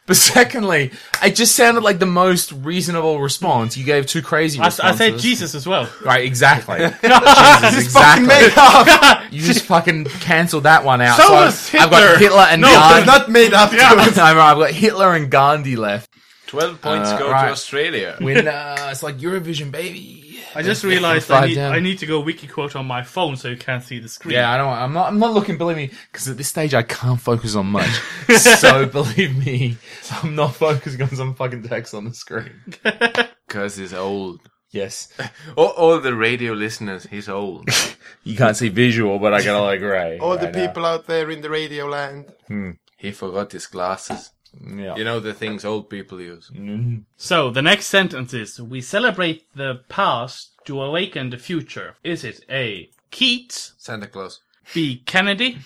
Speaker 4: But secondly, it just sounded like the most reasonable response. You gave two crazy
Speaker 2: I, s- I said
Speaker 4: responses.
Speaker 2: Jesus as well.
Speaker 4: Right, exactly. Jesus,
Speaker 3: Fucking made
Speaker 4: exactly.
Speaker 3: up.
Speaker 4: You just fucking cancelled that one out.
Speaker 2: So
Speaker 4: I've-
Speaker 2: was
Speaker 4: I've got
Speaker 2: Hitler.
Speaker 4: Hitler and
Speaker 3: It's
Speaker 4: Gandhi.
Speaker 3: not made up.
Speaker 4: I've got Hitler and Gandhi left.
Speaker 6: 12 points
Speaker 4: Uh,
Speaker 6: go
Speaker 4: right.
Speaker 6: to Australia.
Speaker 4: When uh, it's like Eurovision, baby.
Speaker 2: I just realized
Speaker 4: Five
Speaker 2: I need,
Speaker 4: down.
Speaker 2: I need to go wiki quote on my phone so you can't see the screen.
Speaker 4: Yeah, I don't. I'm not. I'm not looking. Believe me, because at this stage I can't focus on much. so believe me, I'm not focusing on some fucking text on the screen.
Speaker 6: Because he's old.
Speaker 4: Yes,
Speaker 6: All, all the radio listeners, he's old.
Speaker 4: you can't see visual, but I got a like right.
Speaker 3: All the people out there in the radio land.
Speaker 6: he forgot his glasses.
Speaker 4: Yeah.
Speaker 6: You know the things old people use.
Speaker 2: So the next sentence is We celebrate the past to awaken the future. Is it A. Keats,
Speaker 6: Santa Claus.
Speaker 2: B. Kennedy,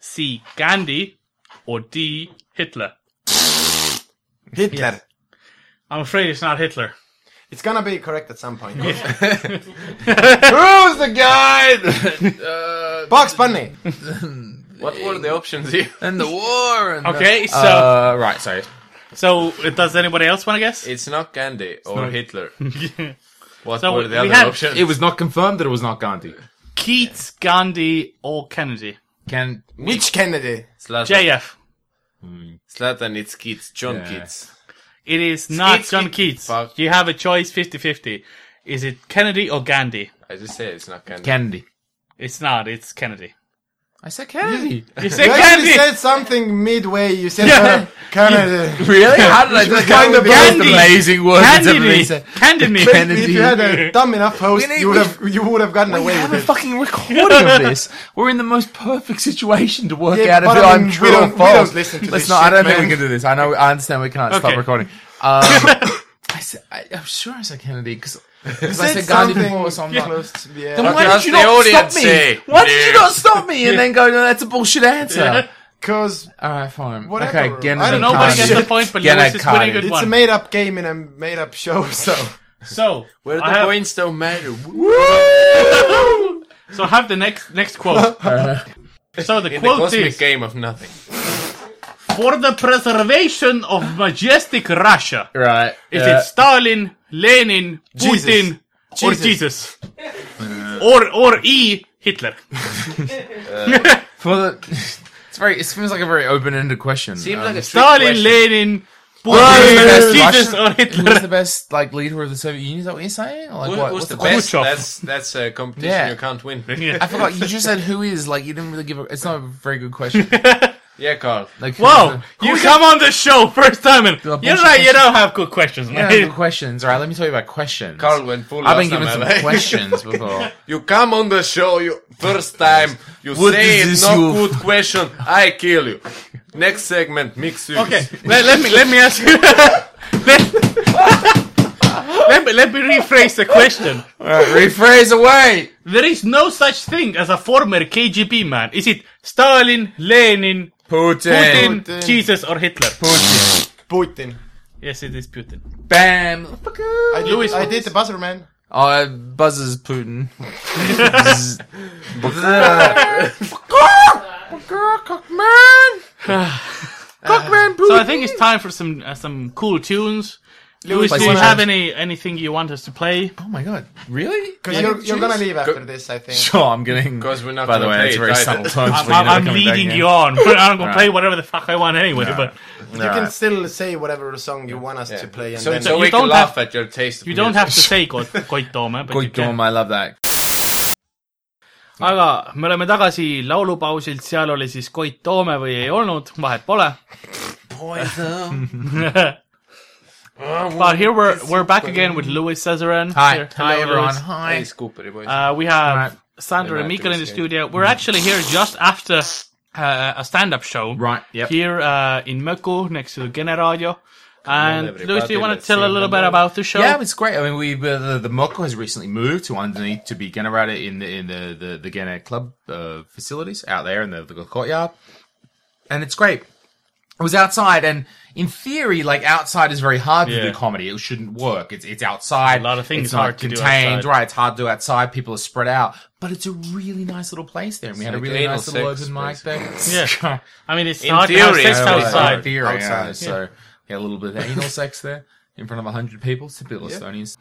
Speaker 2: C. Gandhi, or D. Hitler?
Speaker 5: Hitler.
Speaker 2: I'm afraid it's not Hitler.
Speaker 5: It's gonna be correct at some point.
Speaker 4: Who's the guy? uh,
Speaker 5: Bugs Bunny.
Speaker 6: What were the options here?
Speaker 4: and the war. And
Speaker 2: Okay, so
Speaker 4: Uh, right, sorry.
Speaker 2: so does anybody else want to guess?
Speaker 6: It's not Gandhi or Hitler. What
Speaker 2: So
Speaker 6: were the
Speaker 2: we
Speaker 6: other
Speaker 2: had-
Speaker 6: options?
Speaker 4: It was not confirmed that it was not Gandhi.
Speaker 2: Keats, Gandhi, or Kennedy?
Speaker 4: Can
Speaker 5: Which Kennedy?
Speaker 6: Slatan.
Speaker 2: JF.
Speaker 6: Slatan, it's kids. John
Speaker 4: Yeah.
Speaker 6: kids.
Speaker 2: It is not
Speaker 6: Keats,
Speaker 2: John
Speaker 6: Keats.
Speaker 2: Keats.
Speaker 6: Fuck.
Speaker 2: You have a choice 50-50. Is it Kennedy or Gandhi?
Speaker 6: I just said it's not Gandhi.
Speaker 4: Kennedy?
Speaker 2: It's not. It's Kennedy.
Speaker 4: I said Kennedy.
Speaker 2: You say
Speaker 5: You actually
Speaker 2: Gandhi.
Speaker 5: said something midway. You said
Speaker 2: Yeah.
Speaker 5: uh, Kennedy.
Speaker 4: Really? How did I just
Speaker 5: kind of
Speaker 2: Gandhi.
Speaker 4: amazing word
Speaker 2: Kennedy. Kennedy.
Speaker 4: Kennedy.
Speaker 5: If you had a dumb enough host,
Speaker 4: We need-
Speaker 5: you would have you would have gotten
Speaker 4: We
Speaker 5: away
Speaker 4: have a
Speaker 5: with it.
Speaker 4: fucking recording of this. We're in the most perfect situation to work
Speaker 5: Yeah,
Speaker 4: out if
Speaker 5: but I mean,
Speaker 4: I'm
Speaker 5: we
Speaker 4: true or
Speaker 5: don't- we
Speaker 4: false.
Speaker 5: don't listen to
Speaker 4: Let's
Speaker 5: this
Speaker 4: not. I
Speaker 5: shit,
Speaker 4: don't think we
Speaker 5: man.
Speaker 4: can do this. I know. I understand. We can't
Speaker 2: Okay.
Speaker 4: stop recording. Um, I said, I, I'm sure I said Kennedy because I said Gandhi before, so I'm not.
Speaker 5: close to- yeah.
Speaker 4: Then why
Speaker 6: does
Speaker 4: did you
Speaker 6: the
Speaker 4: not stop
Speaker 6: audience
Speaker 4: me?
Speaker 6: say?
Speaker 4: Why did you
Speaker 6: Yeah.
Speaker 4: not stop me and then go, no, that's a bullshit answer?
Speaker 5: Because
Speaker 4: All right, fine.
Speaker 5: Whatever.
Speaker 4: Okay, Gennady
Speaker 5: I don't know,
Speaker 2: Nobody
Speaker 5: Kennedy.
Speaker 2: gets the point, but Lewis is winning a good
Speaker 5: it's
Speaker 2: one.
Speaker 5: a made up game in a made up show, so
Speaker 2: So,
Speaker 6: Where the
Speaker 2: I have,
Speaker 6: points don't matter.
Speaker 2: so I have the next next quote. so the
Speaker 6: In the
Speaker 2: quote
Speaker 6: cosmic
Speaker 2: is
Speaker 6: game of nothing.
Speaker 2: for the preservation of majestic Russia.
Speaker 4: Right.
Speaker 2: Is
Speaker 4: yeah.
Speaker 2: it Stalin, Lenin,
Speaker 5: Jesus.
Speaker 2: Putin, or
Speaker 5: Jesus.
Speaker 2: Jesus, or or E Hitler?
Speaker 4: For the, it's very. It seems like a very open-ended question.
Speaker 6: Seems
Speaker 4: Um,
Speaker 6: like a
Speaker 2: Stalin,
Speaker 6: trick question.
Speaker 2: Lenin,
Speaker 4: Who's the
Speaker 2: Putin,
Speaker 4: best
Speaker 2: Jesus,
Speaker 4: Russian-
Speaker 2: or
Speaker 4: Who was
Speaker 2: Hitler?
Speaker 4: the best like leader of the Soviet Union? Is that what you're saying? Like,
Speaker 6: Who-
Speaker 4: what,
Speaker 6: who's
Speaker 4: what's
Speaker 6: the
Speaker 4: the,
Speaker 6: best?
Speaker 2: Khrushchev.
Speaker 6: That's that's a competition
Speaker 4: Yeah.
Speaker 6: you can't win.
Speaker 4: I forgot. You just said who is like you didn't really give. a... It's not a very good question.
Speaker 6: Yeah, Carl.
Speaker 4: Like, who's
Speaker 2: Wow,
Speaker 4: the-
Speaker 2: you come on the show first time, and
Speaker 4: Do a
Speaker 2: you're
Speaker 4: bunch of
Speaker 2: right. You don't have good questions,
Speaker 4: I
Speaker 2: man.
Speaker 4: don't have good questions. All right, let me tell you about questions.
Speaker 6: Carl went full.
Speaker 4: I've been
Speaker 6: last
Speaker 4: given
Speaker 6: time,
Speaker 4: some
Speaker 6: haven't I?
Speaker 4: questions before.
Speaker 6: You come on the show, you first time you
Speaker 4: What
Speaker 6: say
Speaker 4: is
Speaker 6: it,
Speaker 4: this
Speaker 6: no
Speaker 4: you-
Speaker 6: good question, I kill you. Next segment, mix you.
Speaker 2: Okay, let, let me let me ask you. let, let me let me rephrase the question.
Speaker 4: All right, rephrase away.
Speaker 2: There is no such thing as a former KGB man. Is it Stalin, Lenin,
Speaker 4: Putin.
Speaker 2: Putin,
Speaker 5: Putin.
Speaker 2: Jesus, or Hitler?
Speaker 5: Putin.
Speaker 2: Yes, it is Putin.
Speaker 4: Bam.
Speaker 5: I did,
Speaker 2: Louis
Speaker 5: I
Speaker 2: was-
Speaker 5: did the buzzer man.
Speaker 4: Oh, it buzzes Putin.
Speaker 2: So I think it's time for some uh, some cool tunes. Louis, do
Speaker 4: Play
Speaker 2: you
Speaker 4: some
Speaker 2: have
Speaker 4: tunes.
Speaker 2: any anything you want us to play?
Speaker 4: Oh my god, really?
Speaker 5: Because you're, you're gonna leave after this, I think.
Speaker 4: Sure, I'm getting.
Speaker 6: 'Cause we're not
Speaker 4: By the
Speaker 6: gonna
Speaker 4: way,
Speaker 6: play
Speaker 4: it's
Speaker 6: it,
Speaker 4: very
Speaker 6: right?
Speaker 4: subtle tone.
Speaker 2: I'm, I'm, I'm leading you on. I'm gonna play
Speaker 4: Right.
Speaker 2: whatever the fuck I want anyway. But
Speaker 5: You can still say whatever song you want us to play, and
Speaker 6: So,
Speaker 5: then
Speaker 6: so
Speaker 2: you
Speaker 6: we
Speaker 2: don't
Speaker 6: can laugh
Speaker 2: have-
Speaker 6: at your taste. of
Speaker 2: you don't
Speaker 6: music.
Speaker 2: have to say Koitoma, but you can.
Speaker 4: I love that.
Speaker 2: aga me oleme tagasi laulupausilt , seal oli siis Koit Toome või ei olnud , vahet pole . But here we're we're back again with Louis Cesaran.
Speaker 4: Hi,
Speaker 2: Here.
Speaker 4: hi
Speaker 2: Hello,
Speaker 4: everyone.
Speaker 2: Louis.
Speaker 4: Hi.
Speaker 6: Hey, Scoopery boys.
Speaker 2: Uh, we have
Speaker 4: Right.
Speaker 2: Sandra and
Speaker 6: Right,
Speaker 2: Mikael in the
Speaker 6: Louis, yeah.
Speaker 2: studio. We're actually here just after uh, a stand-up show.
Speaker 4: Right, yep.
Speaker 2: Here uh, in Möku next to Generadio. And Louis, do
Speaker 6: everybody,
Speaker 2: you want to
Speaker 6: let's
Speaker 2: tell a
Speaker 6: sing
Speaker 2: little bit
Speaker 6: hello.
Speaker 2: about the show?
Speaker 4: Yeah, it's great. I mean, we uh, the, the Moco has recently moved to underneath to be generated in the in the the, the Ghana club uh, facilities out there in the, the courtyard, and it's great. It was outside, and in theory, like outside is very hard
Speaker 2: Yeah.
Speaker 4: to do comedy. It shouldn't work. It's it's outside.
Speaker 2: A lot of things
Speaker 4: it's
Speaker 2: are
Speaker 4: not
Speaker 2: hard to do
Speaker 4: contained,
Speaker 2: outside.
Speaker 4: right? It's hard to do outside. People are spread out, but it's a really nice little place there. And we had a
Speaker 6: like
Speaker 4: really
Speaker 6: anal
Speaker 4: nice little
Speaker 6: sex
Speaker 4: open mic thing.
Speaker 2: Yeah. I mean, it's
Speaker 6: In
Speaker 2: hard to have
Speaker 6: theory,
Speaker 2: sex
Speaker 6: it's
Speaker 4: Yeah,
Speaker 2: outside.
Speaker 4: theory,
Speaker 5: Outside.
Speaker 4: yeah, So yeah, a little bit of anal sex there in front of hundred people. Typical Estonians.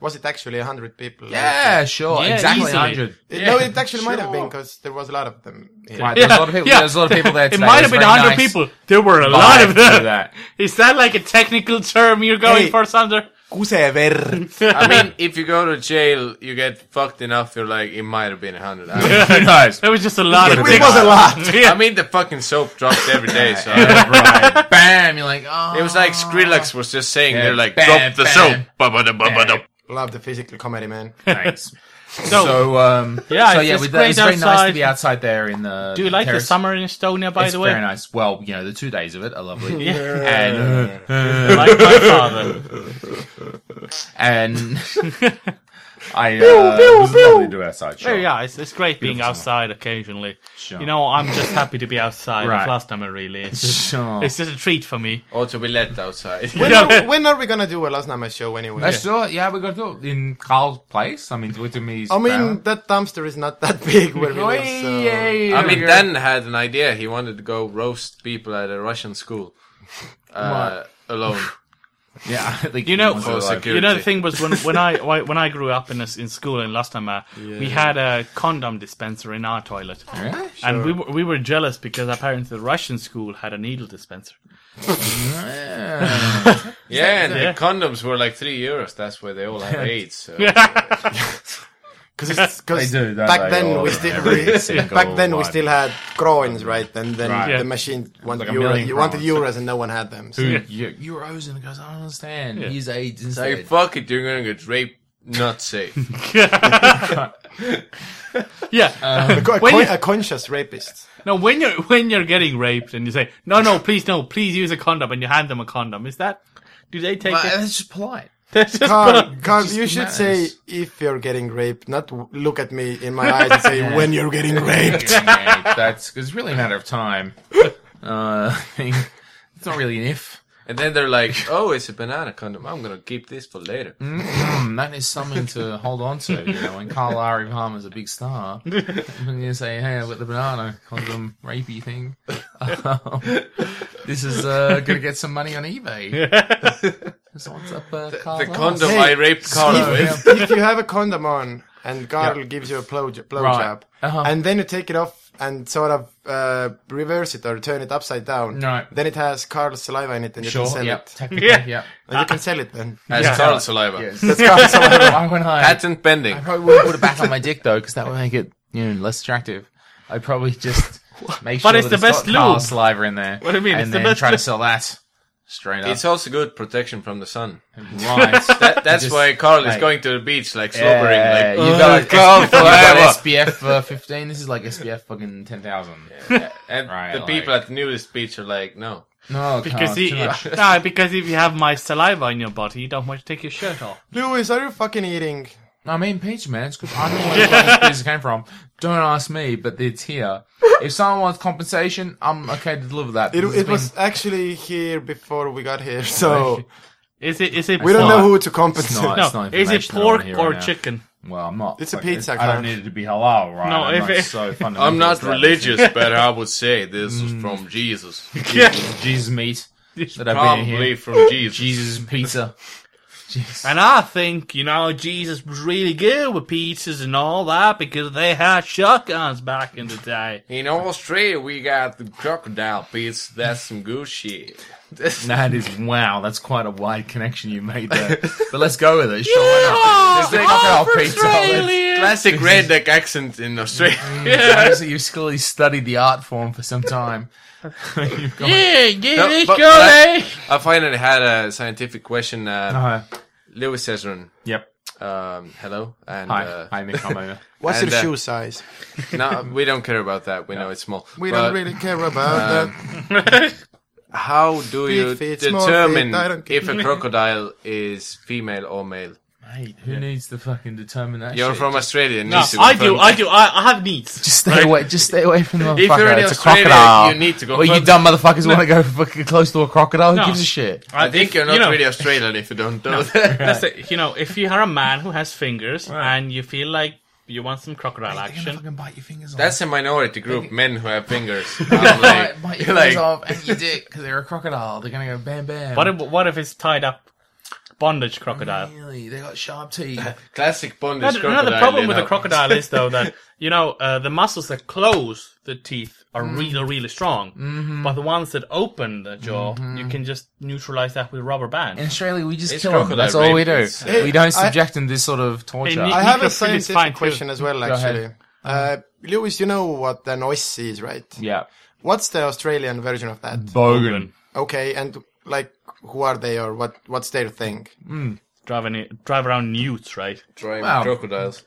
Speaker 5: Was it actually hundred people?
Speaker 4: Yeah, sure,
Speaker 2: Yeah,
Speaker 4: exactly
Speaker 2: easily.
Speaker 4: hundred.
Speaker 5: It- No, it actually might have been because there was a lot of them. here.
Speaker 4: Right, there's a lot of people.
Speaker 2: yeah.
Speaker 4: There's a lot of people there.
Speaker 2: It
Speaker 4: today.
Speaker 2: might have
Speaker 4: It's
Speaker 2: been
Speaker 4: very
Speaker 2: 100
Speaker 4: nice
Speaker 2: people. There were a
Speaker 4: vibe
Speaker 2: lot of
Speaker 4: to
Speaker 2: them.
Speaker 4: That.
Speaker 2: Is that like a technical term you're going
Speaker 5: Hey.
Speaker 2: for, Sander?
Speaker 6: I mean, if you go to jail, you get fucked enough. You're like, it might have been a hundred. I, mean,
Speaker 4: Who knows?
Speaker 2: There was just a lot of
Speaker 5: It was a lot.
Speaker 6: I mean, the fucking soap dropped every day, so I-
Speaker 4: right. Bam! You're like, oh.
Speaker 6: it was like Skrillex was just saying.
Speaker 4: Yeah,
Speaker 6: they're like,
Speaker 4: bam,
Speaker 6: drop the
Speaker 4: bam,
Speaker 6: soap. Ba-ba-da-ba-ba-da.
Speaker 5: Love the physical comedy, man.
Speaker 4: Thanks.
Speaker 2: So,
Speaker 4: So um,
Speaker 2: Yeah,
Speaker 4: so
Speaker 2: it's-
Speaker 4: yeah,
Speaker 2: it's
Speaker 4: with
Speaker 2: great
Speaker 4: that, it's very nice to
Speaker 2: outside.
Speaker 4: be outside there in the.
Speaker 2: do you like
Speaker 4: terrace.
Speaker 2: the summer in Estonia? By
Speaker 4: it's
Speaker 2: the way,
Speaker 4: very nice. Well, you know, the two days of it are lovely.
Speaker 2: Yeah.
Speaker 4: And
Speaker 2: like my father.
Speaker 4: and I uh, was lovely to do outside. Sure.
Speaker 2: Yeah, yeah, it's, it's great being outside occasionally.
Speaker 4: Sure.
Speaker 2: You know, I'm just happy to be outside.
Speaker 4: Right.
Speaker 2: It's last time I really. It's just,
Speaker 4: Sure.
Speaker 2: it's just a treat for me.
Speaker 6: Also, we let outside.
Speaker 5: When,
Speaker 2: Yeah.
Speaker 5: are, when are we gonna do a last night show anyway?
Speaker 4: Let's do it. Yeah, we're gonna do it in Carl's place. I mean, do it to me.
Speaker 5: I mean, that dumpster is not that big where we
Speaker 4: Oh,
Speaker 5: live, so-
Speaker 4: yeah, yeah,
Speaker 6: I mean,
Speaker 4: yeah.
Speaker 6: Dan had an idea. He wanted to go roast people at a Russian school uh, alone.
Speaker 4: yeah, I think
Speaker 2: You know-
Speaker 4: he's
Speaker 6: For
Speaker 4: alive.
Speaker 6: security.
Speaker 2: You know, the thing was when when I wh- when I grew up in a, in school in Lastama, we had a condom dispenser in our toilet,
Speaker 4: Really?
Speaker 2: and we were, we were jealous because apparently the Russian school had a needle dispenser.
Speaker 6: Yeah, and
Speaker 2: Yeah.
Speaker 6: the condoms were like three euros. That's why they all have AIDS. So.
Speaker 5: Cause it's, cause
Speaker 4: They do, don't
Speaker 5: back
Speaker 4: they,
Speaker 5: then
Speaker 4: all
Speaker 5: we
Speaker 4: of
Speaker 5: still
Speaker 4: them,
Speaker 5: we-
Speaker 4: every single
Speaker 5: back then we
Speaker 4: one.
Speaker 5: still had coins, right? And then
Speaker 4: Right.
Speaker 5: the
Speaker 2: Yeah.
Speaker 5: machine wanted,
Speaker 4: like a
Speaker 5: euro,
Speaker 4: million
Speaker 5: you wanted
Speaker 4: crowns.
Speaker 5: euros and no one had them. So.
Speaker 4: Dude, you, you were Ozen and goes, I don't understand. He's AIDS
Speaker 6: It's like,
Speaker 4: instead.
Speaker 6: fuck it, you're gonna get raped. Not safe.
Speaker 2: Yeah,
Speaker 4: Uh.
Speaker 5: A, co- a
Speaker 2: When
Speaker 5: co-
Speaker 2: you-
Speaker 5: a conscious rapist.
Speaker 2: no, when you're when you're getting raped and you say no, no, please, no, please use a condom, and you hand them a condom, is that? Do they take
Speaker 4: But
Speaker 2: it?
Speaker 4: it's just polite.
Speaker 2: That's just
Speaker 5: Carl, Carl you
Speaker 4: just
Speaker 5: should
Speaker 4: matters.
Speaker 5: say if you're getting raped, not w- look at me in my eyes and say when you're getting raped.
Speaker 4: Yeah, that's it's really a matter of time. Uh, I think it's not really an if.
Speaker 6: and then they're like, "Oh, it's a banana condom. I'm gonna keep this for later."
Speaker 4: Hmm, that is something to hold on to. You know, when Carl Ari Palmer's a big star, I'm going to say, "Hey, I've got the banana condom rapey thing. Um, this is uh, going to get some money on eBay." so what's up, uh, Carl?
Speaker 6: The
Speaker 4: Ari?
Speaker 6: condom
Speaker 5: Hey,
Speaker 6: I raped Carl with.
Speaker 5: if, if you have a condom on and Carl gives you a blow, blow
Speaker 4: Right.
Speaker 5: job,
Speaker 4: Uh-huh.
Speaker 5: and then you take it off and sort of uh, reverse it or turn it upside down,
Speaker 4: Right.
Speaker 5: then it has Carl's saliva in it and you
Speaker 4: Sure. Ah.
Speaker 5: can sell
Speaker 4: Yep.
Speaker 5: it.
Speaker 4: Technically,
Speaker 2: Yeah.
Speaker 4: yep.
Speaker 5: And you can sell it then.
Speaker 6: As Carl saliva.
Speaker 4: Yes.
Speaker 5: That's Carl's saliva.
Speaker 4: Why would I?
Speaker 6: Patent pending.
Speaker 4: I probably wouldn't put it back on my dick though, because that would make it you know less attractive. I probably just make sure
Speaker 2: But it's
Speaker 4: that
Speaker 2: the
Speaker 4: it's
Speaker 2: best
Speaker 4: got Carl
Speaker 2: lube.
Speaker 4: saliva in there.
Speaker 2: What do you mean?
Speaker 4: And
Speaker 2: It's the
Speaker 4: then
Speaker 2: best
Speaker 4: try to
Speaker 2: lube.
Speaker 4: sell that straight up.
Speaker 6: It's also good protection from the sun.
Speaker 4: right.
Speaker 6: That, that's
Speaker 4: Just,
Speaker 6: why Carl is
Speaker 4: like-
Speaker 6: going to the beach, like slobbering,
Speaker 4: Yeah,
Speaker 6: like "Oh,
Speaker 4: you got,
Speaker 6: Carl
Speaker 4: you got
Speaker 6: forever.
Speaker 4: SPF uh, 15. This is like SPF fucking 10,000.
Speaker 6: And
Speaker 4: Right,
Speaker 6: the
Speaker 4: like-
Speaker 6: people at the nudist beach are like, "No,
Speaker 4: No,
Speaker 2: because
Speaker 4: Carl,
Speaker 2: he,
Speaker 4: Oh, too much.
Speaker 2: no, because if you have my saliva in your body, you don't want to take your shirt off.
Speaker 5: Louis, are you fucking eating?
Speaker 4: I mean, peach, man. It's good. I don't know where this came from. Don't ask me, but it's here. If someone wants compensation, I'm okay to deliver that.
Speaker 5: It,
Speaker 4: This has
Speaker 5: it was
Speaker 4: been-
Speaker 5: actually here before we got here, so
Speaker 2: Is it? Is it?
Speaker 5: we don't
Speaker 2: pork?
Speaker 5: know who to compensate.
Speaker 4: not.
Speaker 2: No,
Speaker 4: It's
Speaker 2: is it
Speaker 4: informational
Speaker 2: pork
Speaker 4: here
Speaker 2: or
Speaker 4: right now.
Speaker 2: chicken?
Speaker 4: Well, I'm not.
Speaker 5: It's a
Speaker 4: like,
Speaker 5: pizza,
Speaker 4: I
Speaker 5: Carl.
Speaker 4: don't need it to be halal, right?
Speaker 2: No,
Speaker 4: I'm
Speaker 2: if
Speaker 4: not
Speaker 2: it-
Speaker 4: so
Speaker 6: I'm
Speaker 4: fundamental
Speaker 6: not
Speaker 4: to that.
Speaker 6: religious, but I would say this is from Jesus.
Speaker 2: Yeah.
Speaker 4: Jesus meat that I've been
Speaker 6: Probably
Speaker 4: here.
Speaker 6: from Jesus.
Speaker 4: Jesus pizza. Jesus.
Speaker 2: And I think, you know, Jesus was really good with pizzas and all that because they had shotguns back in the day.
Speaker 6: In Australia, we got the crocodile beats. That's some good shit. This,
Speaker 4: That is wow. That's quite a wide connection you made there. but let's go with it. Sure,
Speaker 2: Yeah!
Speaker 4: why not? It's like
Speaker 2: All for
Speaker 4: halal pizza. Let's-
Speaker 2: Australia!
Speaker 6: classic redneck accent in Australia.
Speaker 4: Obviously, you've clearly studied the art form for some time. You've gone-
Speaker 2: Yeah, yeah,
Speaker 6: No,
Speaker 2: let's
Speaker 6: but-
Speaker 2: go,
Speaker 6: but I-
Speaker 2: eh?
Speaker 6: I finally had a scientific question. Uh,
Speaker 4: Uh,
Speaker 6: Lewis Ezrin,
Speaker 4: yep.
Speaker 6: um, hello. And
Speaker 4: Hi.
Speaker 6: Uh,
Speaker 4: Hi, Nick. I'm over.
Speaker 5: What's
Speaker 6: And,
Speaker 5: your
Speaker 6: uh,
Speaker 5: shoe size?
Speaker 6: no, we don't care about that. We know it's small.
Speaker 5: We
Speaker 6: But uh,
Speaker 5: don't really care about that.
Speaker 6: How do you
Speaker 5: Big feet, small
Speaker 6: determine
Speaker 5: feet, I don't care.
Speaker 6: if a crocodile is female or male?
Speaker 4: Mate, who needs to fucking determine that?
Speaker 6: You're
Speaker 4: shit?
Speaker 6: from Australia.
Speaker 2: No, I do, I do, I, I have needs.
Speaker 4: Just stay away. Just stay away from the motherfucker.
Speaker 6: you're in
Speaker 4: it's
Speaker 6: Australia,
Speaker 4: a crocodile.
Speaker 6: you need to go
Speaker 4: Well, you
Speaker 6: further.
Speaker 4: dumb motherfuckers want to go fucking close to a crocodile. Who
Speaker 2: No.
Speaker 4: gives a shit?
Speaker 6: I think you're not
Speaker 2: you know-
Speaker 6: really Australian if you don't know that.
Speaker 2: That's it. You know, if you are a man who has fingers and you feel like you want some crocodile
Speaker 4: They're gonna
Speaker 2: action,
Speaker 4: fucking bite your fingers off.
Speaker 6: That's a minority group, men who have fingers.
Speaker 4: Bite-
Speaker 6: I'm like,
Speaker 4: bite your
Speaker 6: you're
Speaker 4: fingers
Speaker 6: like,
Speaker 4: off and your dick because they're a crocodile. They're gonna go bam bam.
Speaker 2: what if, what if it's tied up bondage crocodile?
Speaker 4: Really? They got sharp teeth.
Speaker 6: classic
Speaker 2: No,
Speaker 6: bondage
Speaker 2: the-
Speaker 6: crocodile.
Speaker 2: no, the problem
Speaker 6: you
Speaker 2: with
Speaker 6: know.
Speaker 2: the crocodile is though that you know uh, the muscles that close the teeth are really, really strong, but the ones that open the jaw, you can just neutralize that with rubber
Speaker 4: In
Speaker 2: band.
Speaker 4: Australia, we just
Speaker 6: It's
Speaker 4: kill them.
Speaker 6: crocodile
Speaker 4: That's all we
Speaker 6: rape.
Speaker 4: do.
Speaker 6: It's,
Speaker 5: uh,
Speaker 4: we don't
Speaker 5: I-
Speaker 4: subject them to this sort of torture.
Speaker 2: Hey,
Speaker 5: I
Speaker 2: Nick-
Speaker 5: have a
Speaker 2: Nico's food is fine
Speaker 5: scientific
Speaker 2: too.
Speaker 5: question as well,
Speaker 4: ahead. Uh-huh.
Speaker 5: actually. Uh, Lewis, you know what an ois is, right?
Speaker 4: yeah.
Speaker 5: What's the Australian version of that?
Speaker 4: Bogan.
Speaker 5: Okay, and like, who are they or what? What's their thing?
Speaker 2: driving drive around newts, right?
Speaker 6: Drawing
Speaker 4: Wow.
Speaker 6: crocodiles.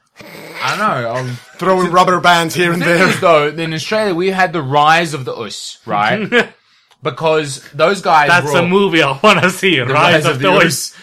Speaker 4: I know. Um,
Speaker 5: Throwing rubber bands here and
Speaker 4: thing
Speaker 5: there.
Speaker 4: is, though, in Australia, we had the rise of the us, right? because those guys
Speaker 2: That's
Speaker 4: were
Speaker 2: a movie I want to see. Rise
Speaker 4: Rise
Speaker 2: of
Speaker 4: of
Speaker 2: the
Speaker 4: the
Speaker 2: Ois.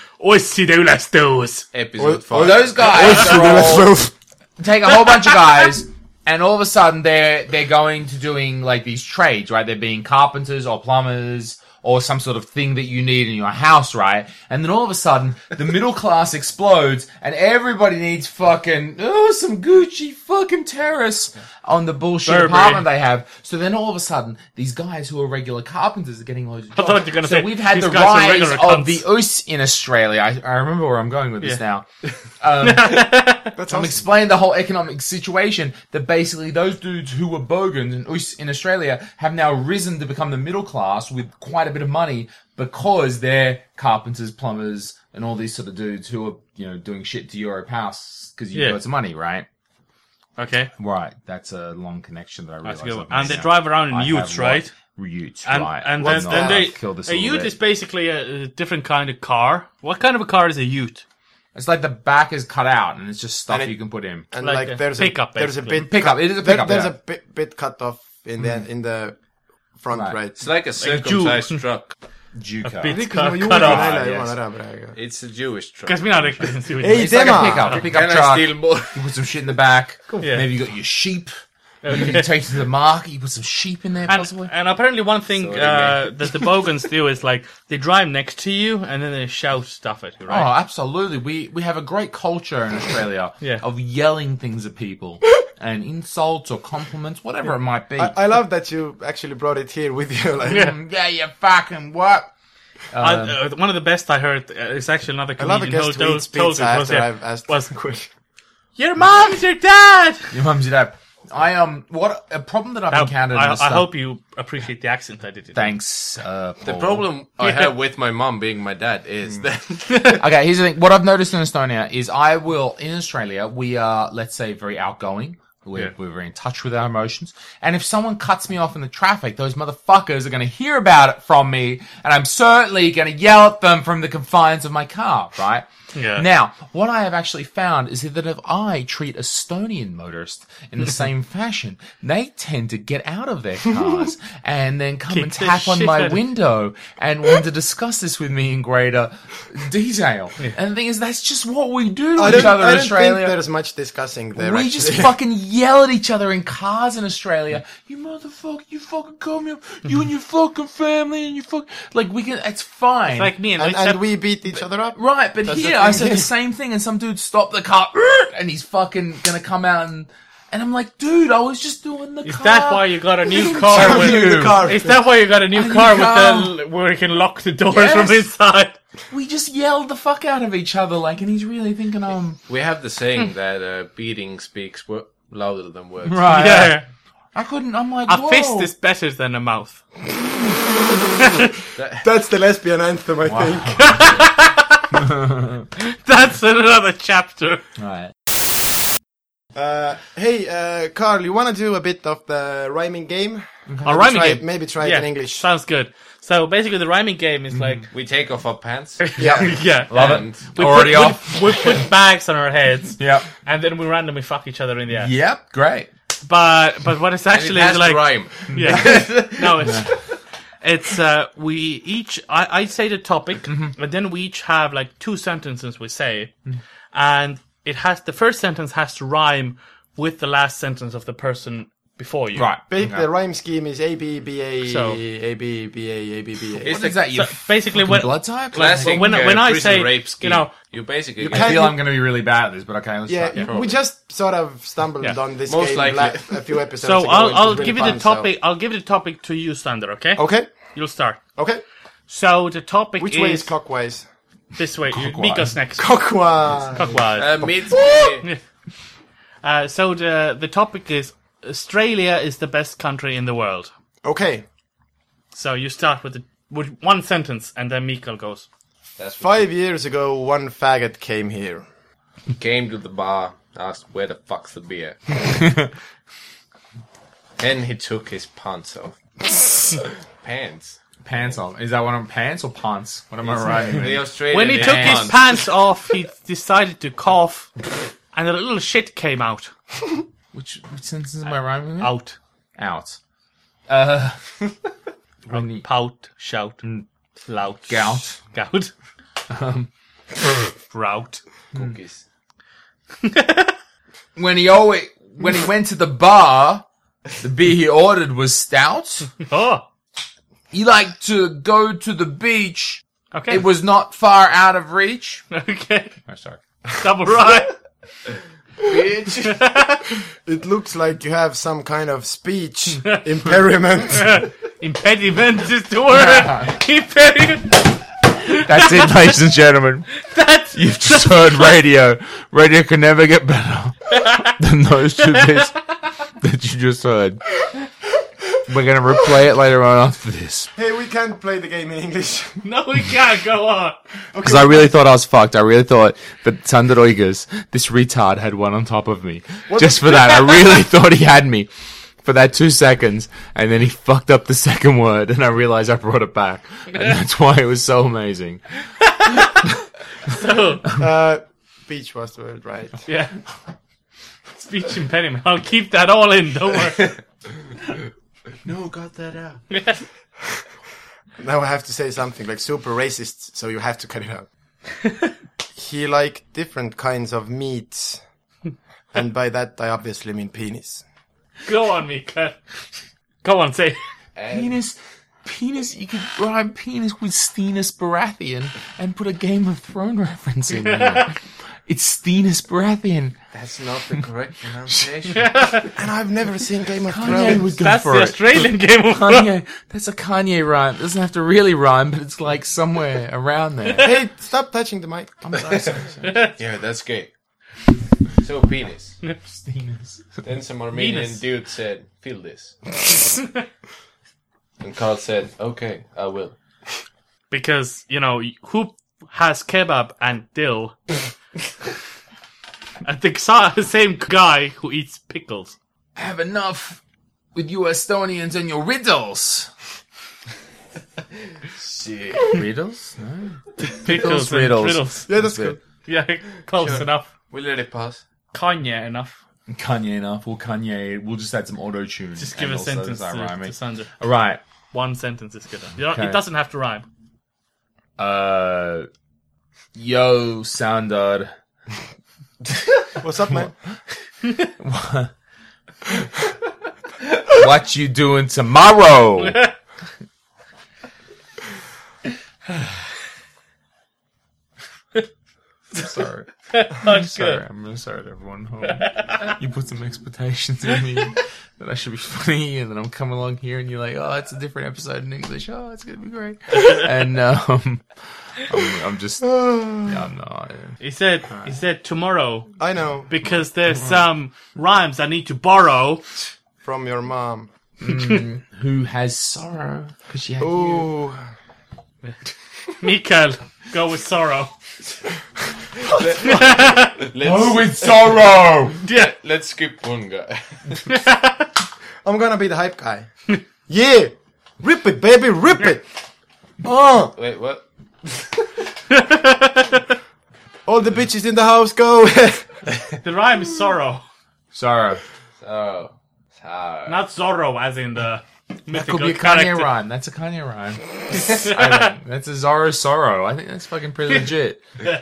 Speaker 2: Oisidulas dos.
Speaker 6: Episode
Speaker 4: Well,
Speaker 6: five.
Speaker 4: those guys
Speaker 3: Let's do
Speaker 4: were
Speaker 3: this
Speaker 4: all-
Speaker 3: move.
Speaker 4: take a whole bunch of guys, and all of a sudden they're they're going to doing like these trades, right? They're being carpenters or plumbers or some sort of thing that you need in your house, right? And then all of a sudden the middle class explodes, and everybody needs fucking oh some Gucci fucking terrace on the bullshit
Speaker 2: Burberry.
Speaker 4: apartment they have. So then all of a sudden these guys who are regular carpenters are getting loads of jobs.
Speaker 2: thought you were gonna
Speaker 4: so
Speaker 2: say,
Speaker 4: we've had
Speaker 2: "These
Speaker 4: the
Speaker 2: guys are
Speaker 4: rise
Speaker 2: regular
Speaker 4: of
Speaker 2: cunts."
Speaker 4: the us in Australia. I, I remember where I'm going with this
Speaker 2: Yeah.
Speaker 4: now. I'm explaining the whole economic situation that basically those dudes who were bogans in, Aus- in Australia have now risen to become the middle class with quite a bit of money because they're carpenters, plumbers, and all these sort of dudes who are, you know, doing shit to your house because you've
Speaker 2: Yeah.
Speaker 4: got some money, right?
Speaker 2: Okay,
Speaker 4: Right. That's a long connection that I realized.
Speaker 2: that's a good one.
Speaker 4: I've made
Speaker 2: And they
Speaker 4: now.
Speaker 2: drive around
Speaker 4: I
Speaker 2: in utes,
Speaker 4: have
Speaker 2: right?
Speaker 4: what- Utes,
Speaker 2: And,
Speaker 4: right.
Speaker 2: and
Speaker 4: Well,
Speaker 2: then,
Speaker 4: no,
Speaker 2: then
Speaker 4: I've
Speaker 2: they
Speaker 4: killed this
Speaker 2: a
Speaker 4: little
Speaker 2: ute
Speaker 4: bit.
Speaker 2: is basically a, a different kind of car. What kind of a car is a ute?
Speaker 4: It's like the back is cut out and it's just stuff
Speaker 5: And it-
Speaker 4: you can put in.
Speaker 5: And
Speaker 2: Like
Speaker 5: like,
Speaker 2: a
Speaker 5: there's
Speaker 2: pickup,
Speaker 5: a there's a
Speaker 2: basically.
Speaker 5: bit
Speaker 4: Pickup. It is a
Speaker 5: there-
Speaker 4: pickup.
Speaker 5: there's
Speaker 4: yeah.
Speaker 5: a bit, bit cut off in the in the front
Speaker 4: Right.
Speaker 5: Mm. right.
Speaker 6: It's like a
Speaker 2: Jew.
Speaker 6: circumcised truck.
Speaker 4: Juco.
Speaker 2: bit-
Speaker 5: Miks nagu
Speaker 2: Cut-
Speaker 5: juurde
Speaker 2: cut off.
Speaker 5: nalja ei
Speaker 4: Yes.
Speaker 5: jumala ära praegu .
Speaker 6: It's a Jewish truck.
Speaker 2: Because we are not
Speaker 5: ei
Speaker 4: It's like
Speaker 5: tema
Speaker 4: a pickup, a pickup
Speaker 6: Can I
Speaker 4: truck.
Speaker 6: steal more?
Speaker 4: You put some shit in the back.
Speaker 2: Yeah.
Speaker 4: Maybe you got your sheep. You can take to the market. You put some sheep in there, possibly.
Speaker 2: And, and apparently, one thing
Speaker 6: Sorry,
Speaker 2: uh, that the bogans do is like they drive next to you and then they shout stuff at you,
Speaker 4: Oh,
Speaker 2: right?
Speaker 4: absolutely. We we have a great culture in Australia
Speaker 2: Yeah.
Speaker 4: of yelling things at people and insults or compliments, whatever it might be.
Speaker 5: I love that you actually brought it here with you like
Speaker 2: Yeah.
Speaker 4: Mm, yeah, you fucking what?
Speaker 2: I- uh, one of the best I heard uh, is actually another
Speaker 5: I love
Speaker 2: comedian
Speaker 5: the guest
Speaker 2: told-
Speaker 5: tweets
Speaker 2: told
Speaker 5: pizza
Speaker 2: it was,
Speaker 5: after
Speaker 2: yeah,
Speaker 5: I've asked
Speaker 2: was-
Speaker 5: the question.
Speaker 2: your mom's your dad.
Speaker 4: Your mum's your dad. I um, what a problem that I've
Speaker 2: I,
Speaker 4: encountered.
Speaker 2: I-
Speaker 4: in
Speaker 2: I
Speaker 4: this stuff-
Speaker 2: hope you appreciate the accent I did. It.
Speaker 4: Thanks. Uh,
Speaker 6: The
Speaker 4: Paul.
Speaker 6: problem I have with my mom being my dad is that
Speaker 4: Okay, here's the thing. What I've noticed in Estonia is I will, in Australia, we are, let's say, very outgoing. We're,
Speaker 2: Yeah.
Speaker 4: we're very in touch with our emotions. And if someone cuts me off in the traffic, those motherfuckers are going to hear about it from me. And I'm certainly going to yell at them from the confines of my car, right?
Speaker 2: Yeah.
Speaker 4: Now, what I have actually found is that if I treat Estonian motorists in the same fashion, they tend to get out of their cars and then come and
Speaker 2: Kick the
Speaker 4: tap on
Speaker 2: shit out
Speaker 4: my
Speaker 2: of-
Speaker 4: window window and want to discuss this with me in greater detail. And the thing is, that's just what we do to
Speaker 5: I
Speaker 4: each
Speaker 5: don't,
Speaker 4: other
Speaker 5: I
Speaker 4: in
Speaker 5: don't think
Speaker 4: Australia.
Speaker 5: there's much discussing there
Speaker 4: We
Speaker 5: actually.
Speaker 4: just fucking yell at each other in cars in Australia. You motherfucker! You fucking call me up. You and your fucking family and you fuck. Like we can. It's fine.
Speaker 2: Like me and,
Speaker 5: and,
Speaker 2: except-
Speaker 5: and we beat each other up
Speaker 4: right, but
Speaker 5: That's the
Speaker 4: here I
Speaker 5: thing.
Speaker 4: said the same thing, and some dude stopped the car, and he's fucking gonna come out and. And I'm like, dude, I was just doing the
Speaker 2: is
Speaker 4: car.
Speaker 2: that why you got a new car?
Speaker 4: Fuck
Speaker 2: With,
Speaker 4: you.
Speaker 5: the car.
Speaker 2: is that why you got a new
Speaker 4: new
Speaker 2: car with
Speaker 4: car.
Speaker 2: the where you can lock the doors
Speaker 4: Yes.
Speaker 2: from inside?
Speaker 4: We just yelled the fuck out of each other, like, and he's really thinking I'm
Speaker 6: we have the saying that uh, beating speaks wo- louder than words.
Speaker 4: right.
Speaker 2: Yeah,
Speaker 4: I couldn't. I'm like,
Speaker 2: Uh, a
Speaker 4: Whoa.
Speaker 2: fist is better than a mouth.
Speaker 5: that's the lesbian anthem I think
Speaker 2: That's another chapter.
Speaker 4: Right.
Speaker 5: uh, hey uh, Carl you wanna do a bit of the rhyming game
Speaker 2: A rhyming
Speaker 5: Uh, try,
Speaker 2: game.
Speaker 5: maybe try it in English
Speaker 2: Sounds good. So basically, the rhyming game is like,
Speaker 6: We take off our pants.
Speaker 5: yeah
Speaker 2: Mm. yeah,
Speaker 6: and
Speaker 2: we
Speaker 4: Already
Speaker 2: put,
Speaker 4: off.
Speaker 2: We, we put bags on our heads,
Speaker 4: Yep.
Speaker 2: and then we randomly fuck each other in the ass.
Speaker 4: Yep. Great.
Speaker 2: But but what it's
Speaker 6: It
Speaker 2: actually
Speaker 6: has
Speaker 2: is like,
Speaker 6: to rhyme.
Speaker 2: yeah, no, it's it's uh, we each I I say the topic,
Speaker 5: Mm-hmm.
Speaker 2: and then we each have like two sentences we say, and it has the first sentence has to rhyme with the last sentence of the person before you.
Speaker 4: Right.
Speaker 5: Ba- the rhyme scheme is A B B A
Speaker 2: So-
Speaker 5: A B B A A B B A
Speaker 4: What is that?
Speaker 2: So
Speaker 4: You
Speaker 2: basically, when
Speaker 4: blood type?
Speaker 6: Classic
Speaker 2: when-
Speaker 6: when,
Speaker 2: when I
Speaker 6: I
Speaker 2: say,
Speaker 6: say rape
Speaker 2: you
Speaker 6: scheme.
Speaker 2: know-
Speaker 6: You basically
Speaker 5: You
Speaker 6: get-
Speaker 4: I
Speaker 5: can't-
Speaker 4: feel I'm going to be really bad at this, but okay, let's
Speaker 5: yeah,
Speaker 4: try.
Speaker 5: we just sort of stumbled
Speaker 2: Yeah.
Speaker 5: on this
Speaker 6: Most
Speaker 5: game
Speaker 6: likely.
Speaker 5: like a few episodes
Speaker 2: so
Speaker 5: ago. It
Speaker 2: I'll
Speaker 5: was
Speaker 2: I'll
Speaker 5: really
Speaker 2: give you
Speaker 5: fun,
Speaker 2: the
Speaker 5: so-
Speaker 2: topic. I'll give the topic to you, Sander. Okay.
Speaker 5: Okay,
Speaker 2: You'll start.
Speaker 5: okay.
Speaker 2: So the topic
Speaker 5: Which
Speaker 2: is
Speaker 5: way is clockwise?
Speaker 2: this way. You-
Speaker 4: Clockwise.
Speaker 2: Miko's next.
Speaker 5: Clockwise.
Speaker 2: Clockwise.
Speaker 6: uh, meets-
Speaker 2: Uh, so the the topic is Australia is the best country in the world.
Speaker 5: Okay.
Speaker 2: So you start with, the, with one sentence, and then Mikael goes.
Speaker 5: Five years ago, one faggot came here.
Speaker 6: came to the bar, asked where the fuck's the beer. then he took his pants off. pants.
Speaker 4: Pants on. Is that what I'm pants or pants? What am I writing?
Speaker 6: The Australian
Speaker 2: When he took his
Speaker 6: pants.
Speaker 2: pants off, he decided to cough, and a little shit came out.
Speaker 4: Which, which sentence am I rhyming with?
Speaker 2: Out.
Speaker 4: Out. Uh, only
Speaker 2: Pout. Shout. Lout.
Speaker 4: gout.
Speaker 2: Gout. Um, Rout.
Speaker 4: When he always, when he went to the bar, the beer he ordered was stout.
Speaker 2: Oh.
Speaker 4: He liked to go to the beach.
Speaker 2: Okay.
Speaker 4: It was not far out of reach.
Speaker 2: okay.
Speaker 4: Oh, sorry.
Speaker 2: Double right.
Speaker 5: It looks like you have some kind of speech impairment.
Speaker 2: Impediment is the word. Impediment.
Speaker 4: That's it, ladies and gentlemen.
Speaker 2: That's
Speaker 4: You've just heard radio. Radio can never get better than those two bits that you just heard. We're gonna replay it later on after this
Speaker 5: hey, we can't play the game in English.
Speaker 2: no, we can't go on.
Speaker 4: because I really thought I was fucked. I really thought that Thunder Oigers, this retard, had one on top of me. Just for that, I really thought he had me for that two seconds, and then he fucked up the second word, and I realized I brought it back, and that's why it was so amazing.
Speaker 2: So,
Speaker 5: Uh, speech was the word, right?
Speaker 2: yeah. Speech impediment. I'll keep that all in. Don't worry.
Speaker 6: No, got that out.
Speaker 5: Now I have to say something like super racist, so you have to cut it out. he liked different kinds of meats. And by that, I obviously mean penis.
Speaker 2: Go on, Mika. Go on, say.
Speaker 4: Penis, penis. You could rhyme penis with Stenus Baratheon and put a Game of Thrones reference in there. it's Stenus Baratheon.
Speaker 6: That's not the correct pronunciation.
Speaker 5: And I've never seen Game of
Speaker 4: Kanye
Speaker 5: Thrones.
Speaker 4: would go
Speaker 2: That's
Speaker 4: for
Speaker 2: the
Speaker 4: it.
Speaker 2: Australian game of Thrones.
Speaker 4: Kanye, that's a Kanye rhyme. It doesn't have to really rhyme, but it's like somewhere around there.
Speaker 5: Hey, stop touching the mic. I'm sorry.
Speaker 6: Yeah, that's gay. So penis.
Speaker 4: Stenus.
Speaker 6: Then some Armenian
Speaker 2: Venus.
Speaker 6: dude said, "Feel this," and Carl said, "Okay, I will."
Speaker 2: Because, you know, who has kebab and dill? and the exa- same guy who eats pickles.
Speaker 4: Have enough with you Estonians and your riddles.
Speaker 6: See,
Speaker 4: Riddles? No.
Speaker 2: Pickles and
Speaker 4: riddles.
Speaker 2: riddles.
Speaker 5: Yeah, that's good.
Speaker 2: Yeah, close enough.
Speaker 6: we let it pass.
Speaker 2: Kanye enough.
Speaker 4: Kanye enough. We'll Kanye. We'll just add some auto tune.
Speaker 2: Just give a sentence to, to Sandra.
Speaker 4: All right.
Speaker 2: One sentence is good. You know,
Speaker 4: eh? Okay.
Speaker 2: It doesn't have to rhyme.
Speaker 4: Uh, yo, Sandar.
Speaker 5: What's up, man?
Speaker 4: What you doing tomorrow? sorry.
Speaker 2: Oh,
Speaker 4: Sorry, I'm really sorry to everyone. Hold on. you put some expectations in me that I should be funny, and then I'm coming along here, and you're like, "Oh, it's a different episode in English. Oh, it's gonna be great." and um, I'm, I'm just, yeah, I'm not.
Speaker 2: He said, he said tomorrow
Speaker 5: I know.
Speaker 2: because there's some rhymes I need to borrow.
Speaker 5: From your mom.
Speaker 4: Who has sorrow? Because she had you.
Speaker 5: Ooh.
Speaker 2: Mikael, go with sorrow.
Speaker 6: Let's
Speaker 4: with sorrow?
Speaker 2: Yeah.
Speaker 6: let's skip one guy.
Speaker 5: I'm gonna be the hype guy. yeah! Rip it, baby, rip it! Oh!
Speaker 6: Wait, what?
Speaker 5: All the bitches in the house go!
Speaker 2: The rhyme is sorrow,
Speaker 4: sorrow.
Speaker 6: Oh, sorry.
Speaker 2: not Zorro as in the mythical
Speaker 4: Could be a
Speaker 2: character.
Speaker 4: Kanye rhyme. That's a Kanye rhyme. I think. That's a Zorro sorrow. I think that's fucking pretty legit.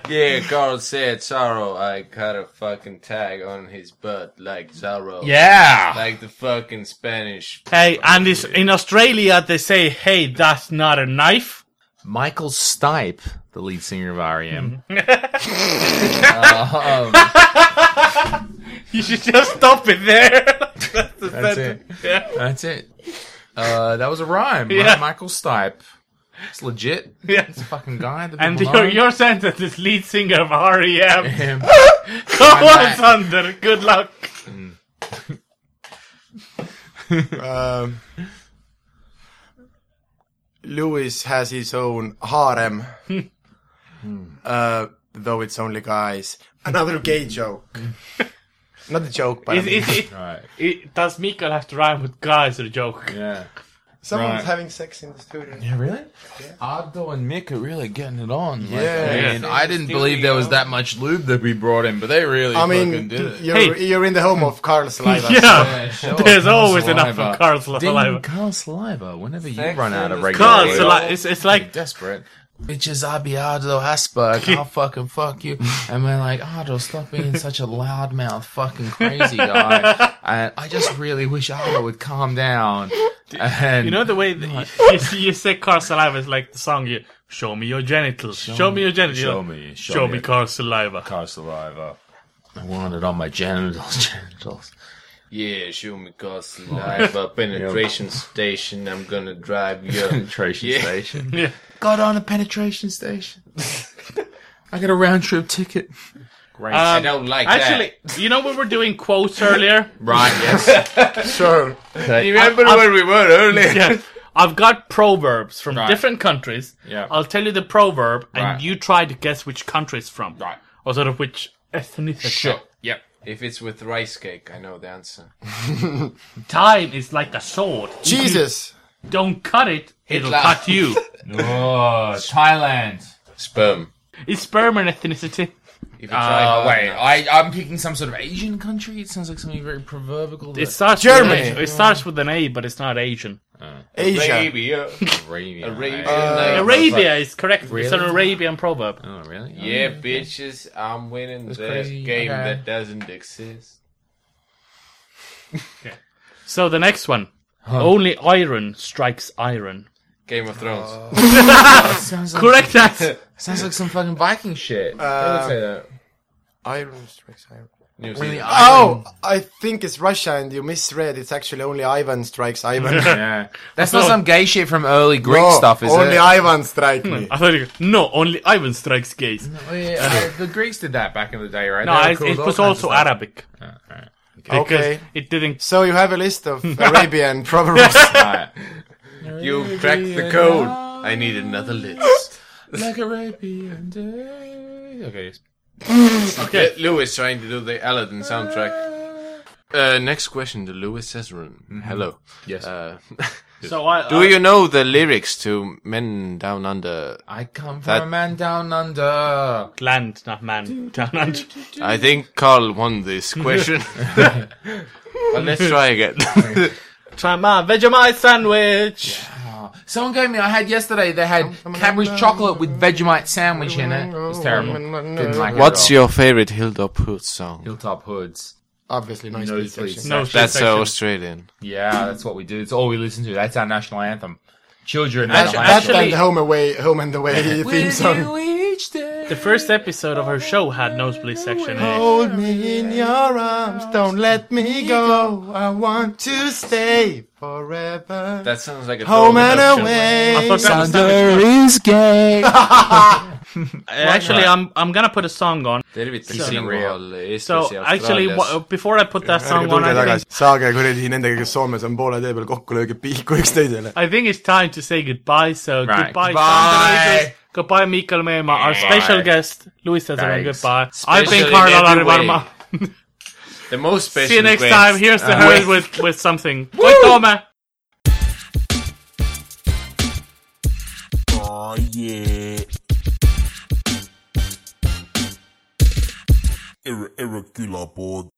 Speaker 6: Yeah, Carl said, "Sorrow." I got a fucking tag on his butt like Zorro.
Speaker 4: Yeah.
Speaker 6: like the fucking Spanish.
Speaker 2: Hey, and this, in Australia they say, "Hey, that's not a knife."
Speaker 4: Michael Stipe, the lead singer of E REM.
Speaker 2: You should just stop it there. that's the
Speaker 4: That's it.
Speaker 2: sentence. Yeah.
Speaker 4: That's it. Uh, that was a rhyme.
Speaker 2: Yeah.
Speaker 4: Mi- Michael Stipe. It's legit.
Speaker 2: Yeah.
Speaker 4: It's a fucking guy. that
Speaker 2: And
Speaker 4: people
Speaker 2: your,
Speaker 4: know.
Speaker 2: your sentence is lead singer of REM.
Speaker 4: Him.
Speaker 2: Come on,
Speaker 4: back.
Speaker 2: Sander. Good luck.
Speaker 5: um, Lewis has his own harem.
Speaker 4: Hmm.
Speaker 5: uh, though it's only guys. Another gay joke. Not a joke, but. I
Speaker 2: Is,
Speaker 5: mean-
Speaker 2: is, is,
Speaker 4: Right.
Speaker 2: It, does Mikael have to rhyme with guys or joke?
Speaker 4: Yeah.
Speaker 5: Someone's
Speaker 4: Right.
Speaker 5: having sex in the studio.
Speaker 4: Yeah, really? Ardo and Mick are really getting it on. Like,
Speaker 5: Yeah.
Speaker 4: I mean, I didn't believe there was that much lube that we brought in, but they really
Speaker 5: I
Speaker 4: fucking
Speaker 5: mean,
Speaker 4: did it.
Speaker 5: you're,
Speaker 2: Hey.
Speaker 5: you're in the home of Carl Saliva.
Speaker 2: Yeah.
Speaker 4: sure.
Speaker 2: There's always enough
Speaker 4: Oh, saliva.
Speaker 2: from Carl Saliva.
Speaker 4: Ding, Carl Saliva, whenever you
Speaker 6: Sex
Speaker 4: run out
Speaker 6: in
Speaker 4: of
Speaker 6: the
Speaker 4: regular
Speaker 2: Carl
Speaker 6: Yeah.
Speaker 4: Saliva.
Speaker 2: Saliva. It's, it's like
Speaker 4: desperate. Bitches, I'll be Ardo Asper. I'll fucking fuck you. And we're like, Ardo, stop being such a loudmouth fucking crazy guy. And I just really wish Ardo would calm down. And
Speaker 2: You know the way that you, you, you say car saliva is like the song you show me your genitals. Show, me your genitals.
Speaker 4: show
Speaker 2: You're like,
Speaker 4: me- show
Speaker 2: Show
Speaker 4: me
Speaker 2: me
Speaker 4: it."
Speaker 2: car saliva.
Speaker 4: car saliva. I want it on my genitals, genitals.
Speaker 6: Yeah, show me cause live a penetration station. I'm gonna drive you.
Speaker 4: Penetration station.
Speaker 2: Yeah.
Speaker 4: Got on a penetration station. I got a round trip ticket. Great.
Speaker 6: I don't like
Speaker 2: Um, Actually, you know when we were doing quotes earlier?
Speaker 6: that. Right, yes.
Speaker 5: Sure.
Speaker 6: Remember where we were earlier?
Speaker 2: yeah. I've got proverbs from
Speaker 4: Right.
Speaker 2: different countries.
Speaker 4: Yeah.
Speaker 2: I'll tell you the proverb and
Speaker 4: Right.
Speaker 2: you try to guess which country it's from.
Speaker 4: Right.
Speaker 2: Or sort of which ethnicity.
Speaker 4: Sure. Yep.
Speaker 6: If it's with rice cake, I know the answer.
Speaker 2: Time is like a sword. If you
Speaker 5: Jesus.
Speaker 2: don't cut it, it'll
Speaker 6: Hitler.
Speaker 2: cut you.
Speaker 4: Oh, Thailand.
Speaker 6: Sperm.
Speaker 2: is sperm an ethnicity?
Speaker 6: If you try
Speaker 4: Uh,
Speaker 6: hard
Speaker 4: wait,
Speaker 6: enough.
Speaker 4: I, I'm picking some sort of Asian country. It sounds like something very proverbial.
Speaker 2: It starts
Speaker 5: Germany.
Speaker 2: With an, it starts with an A, but it's not Asian.
Speaker 5: Asia.
Speaker 4: Uh,
Speaker 6: Arabia.
Speaker 4: Arabian.
Speaker 6: Arabian.
Speaker 5: Uh,
Speaker 2: Arabia is correct. It's an
Speaker 4: Really?
Speaker 2: Arabian proverb.
Speaker 4: Oh, really?
Speaker 6: Yeah, bitches, I'm winning the
Speaker 4: crazy.
Speaker 6: game
Speaker 4: Okay.
Speaker 6: that doesn't exist.
Speaker 2: So the next one. Only iron strikes iron.
Speaker 6: Game of Thrones.
Speaker 4: Uh, Sounds like,
Speaker 2: Correct that.
Speaker 4: sounds like some fucking Viking shit. I would say that.
Speaker 5: Iron strikes iron.
Speaker 6: New
Speaker 4: Only
Speaker 6: Zealand.
Speaker 5: Oh, I think it's Russia and you misread. It's actually only Ivan strikes Ivan.
Speaker 4: Yeah. That's not some gay shit from early Greek
Speaker 5: No,
Speaker 4: stuff, is
Speaker 5: only
Speaker 4: it?
Speaker 5: Ivan strike me.
Speaker 2: I thought you no, only iron strikes gays. No,
Speaker 4: Oh, yeah, uh, the Greeks did that back in the day, right? They were
Speaker 2: it, it
Speaker 4: called all
Speaker 2: was
Speaker 4: kinds of
Speaker 2: also
Speaker 4: stuff.
Speaker 2: Arabic. Because
Speaker 5: Okay.
Speaker 2: it didn't.
Speaker 5: So you have a list of Arabian proverbs.
Speaker 4: Right.
Speaker 6: You cracked the code. I need another list.
Speaker 4: like Arabian day. Okay.
Speaker 6: Okay. Lou is trying to do the Aladdin soundtrack. Uh, next question to Louis Cesarin.
Speaker 2: Mm-hmm.
Speaker 6: Hello.
Speaker 4: Yes.
Speaker 6: Uh,
Speaker 2: So I,
Speaker 6: do you know the lyrics to Men Down Under?
Speaker 4: I come from
Speaker 6: That-
Speaker 4: a man down under.
Speaker 2: land, not man. Down under.
Speaker 6: I think Carl won this question. but let's try again.
Speaker 2: Try my Vegemite sandwich.
Speaker 4: Someone gave me. I had yesterday. They had Cadbury's chocolate with Vegemite sandwich in it. It was terrible.
Speaker 5: Mm,
Speaker 4: Didn't like it.
Speaker 6: What's
Speaker 4: at all.
Speaker 6: your favorite Hilda Put song?
Speaker 4: hilltop hoods?
Speaker 5: Obviously, no
Speaker 4: No,
Speaker 5: speech
Speaker 4: please.
Speaker 5: section.
Speaker 2: No,
Speaker 6: That's
Speaker 2: shit section.
Speaker 6: so Australian.
Speaker 4: Yeah, that's what we do. It's all we listen to. That's our national anthem. Children.
Speaker 5: That,
Speaker 4: and our
Speaker 5: that
Speaker 4: national
Speaker 5: and home away, home and away theme song.
Speaker 2: The first episode of her show had nosebleed section. in it.
Speaker 5: Hold me in your arms, don't let me go. I want to stay forever.
Speaker 6: Oh, That sounds like a
Speaker 5: home and away.
Speaker 2: I thought that was
Speaker 4: Thunder is gay.
Speaker 2: Actually, I'm I'm gonna put a song on.
Speaker 6: eh,
Speaker 2: So actually, wha- before I put that song on,
Speaker 5: tulge
Speaker 2: I think,
Speaker 5: tagasi , saage kuradi nendega , kes Soomes on poole tee peal kokku , lööge piiku üksteisele .
Speaker 2: I think it's time to say goodbye. So
Speaker 4: Right.
Speaker 2: goodbye,
Speaker 4: Goodbye.
Speaker 2: Sandwiches. Goodbye, Mikael Meema, our special guest. Louis says around
Speaker 4: Thanks.
Speaker 2: goodbye. I've been
Speaker 6: Special in
Speaker 2: Carlo
Speaker 6: every way.
Speaker 2: Larivarma.
Speaker 6: the most special.
Speaker 2: See you next
Speaker 6: guest.
Speaker 2: time. Here's the herd with, with something. Wait, Tome.
Speaker 1: Oh yeah. Ir- irregular board.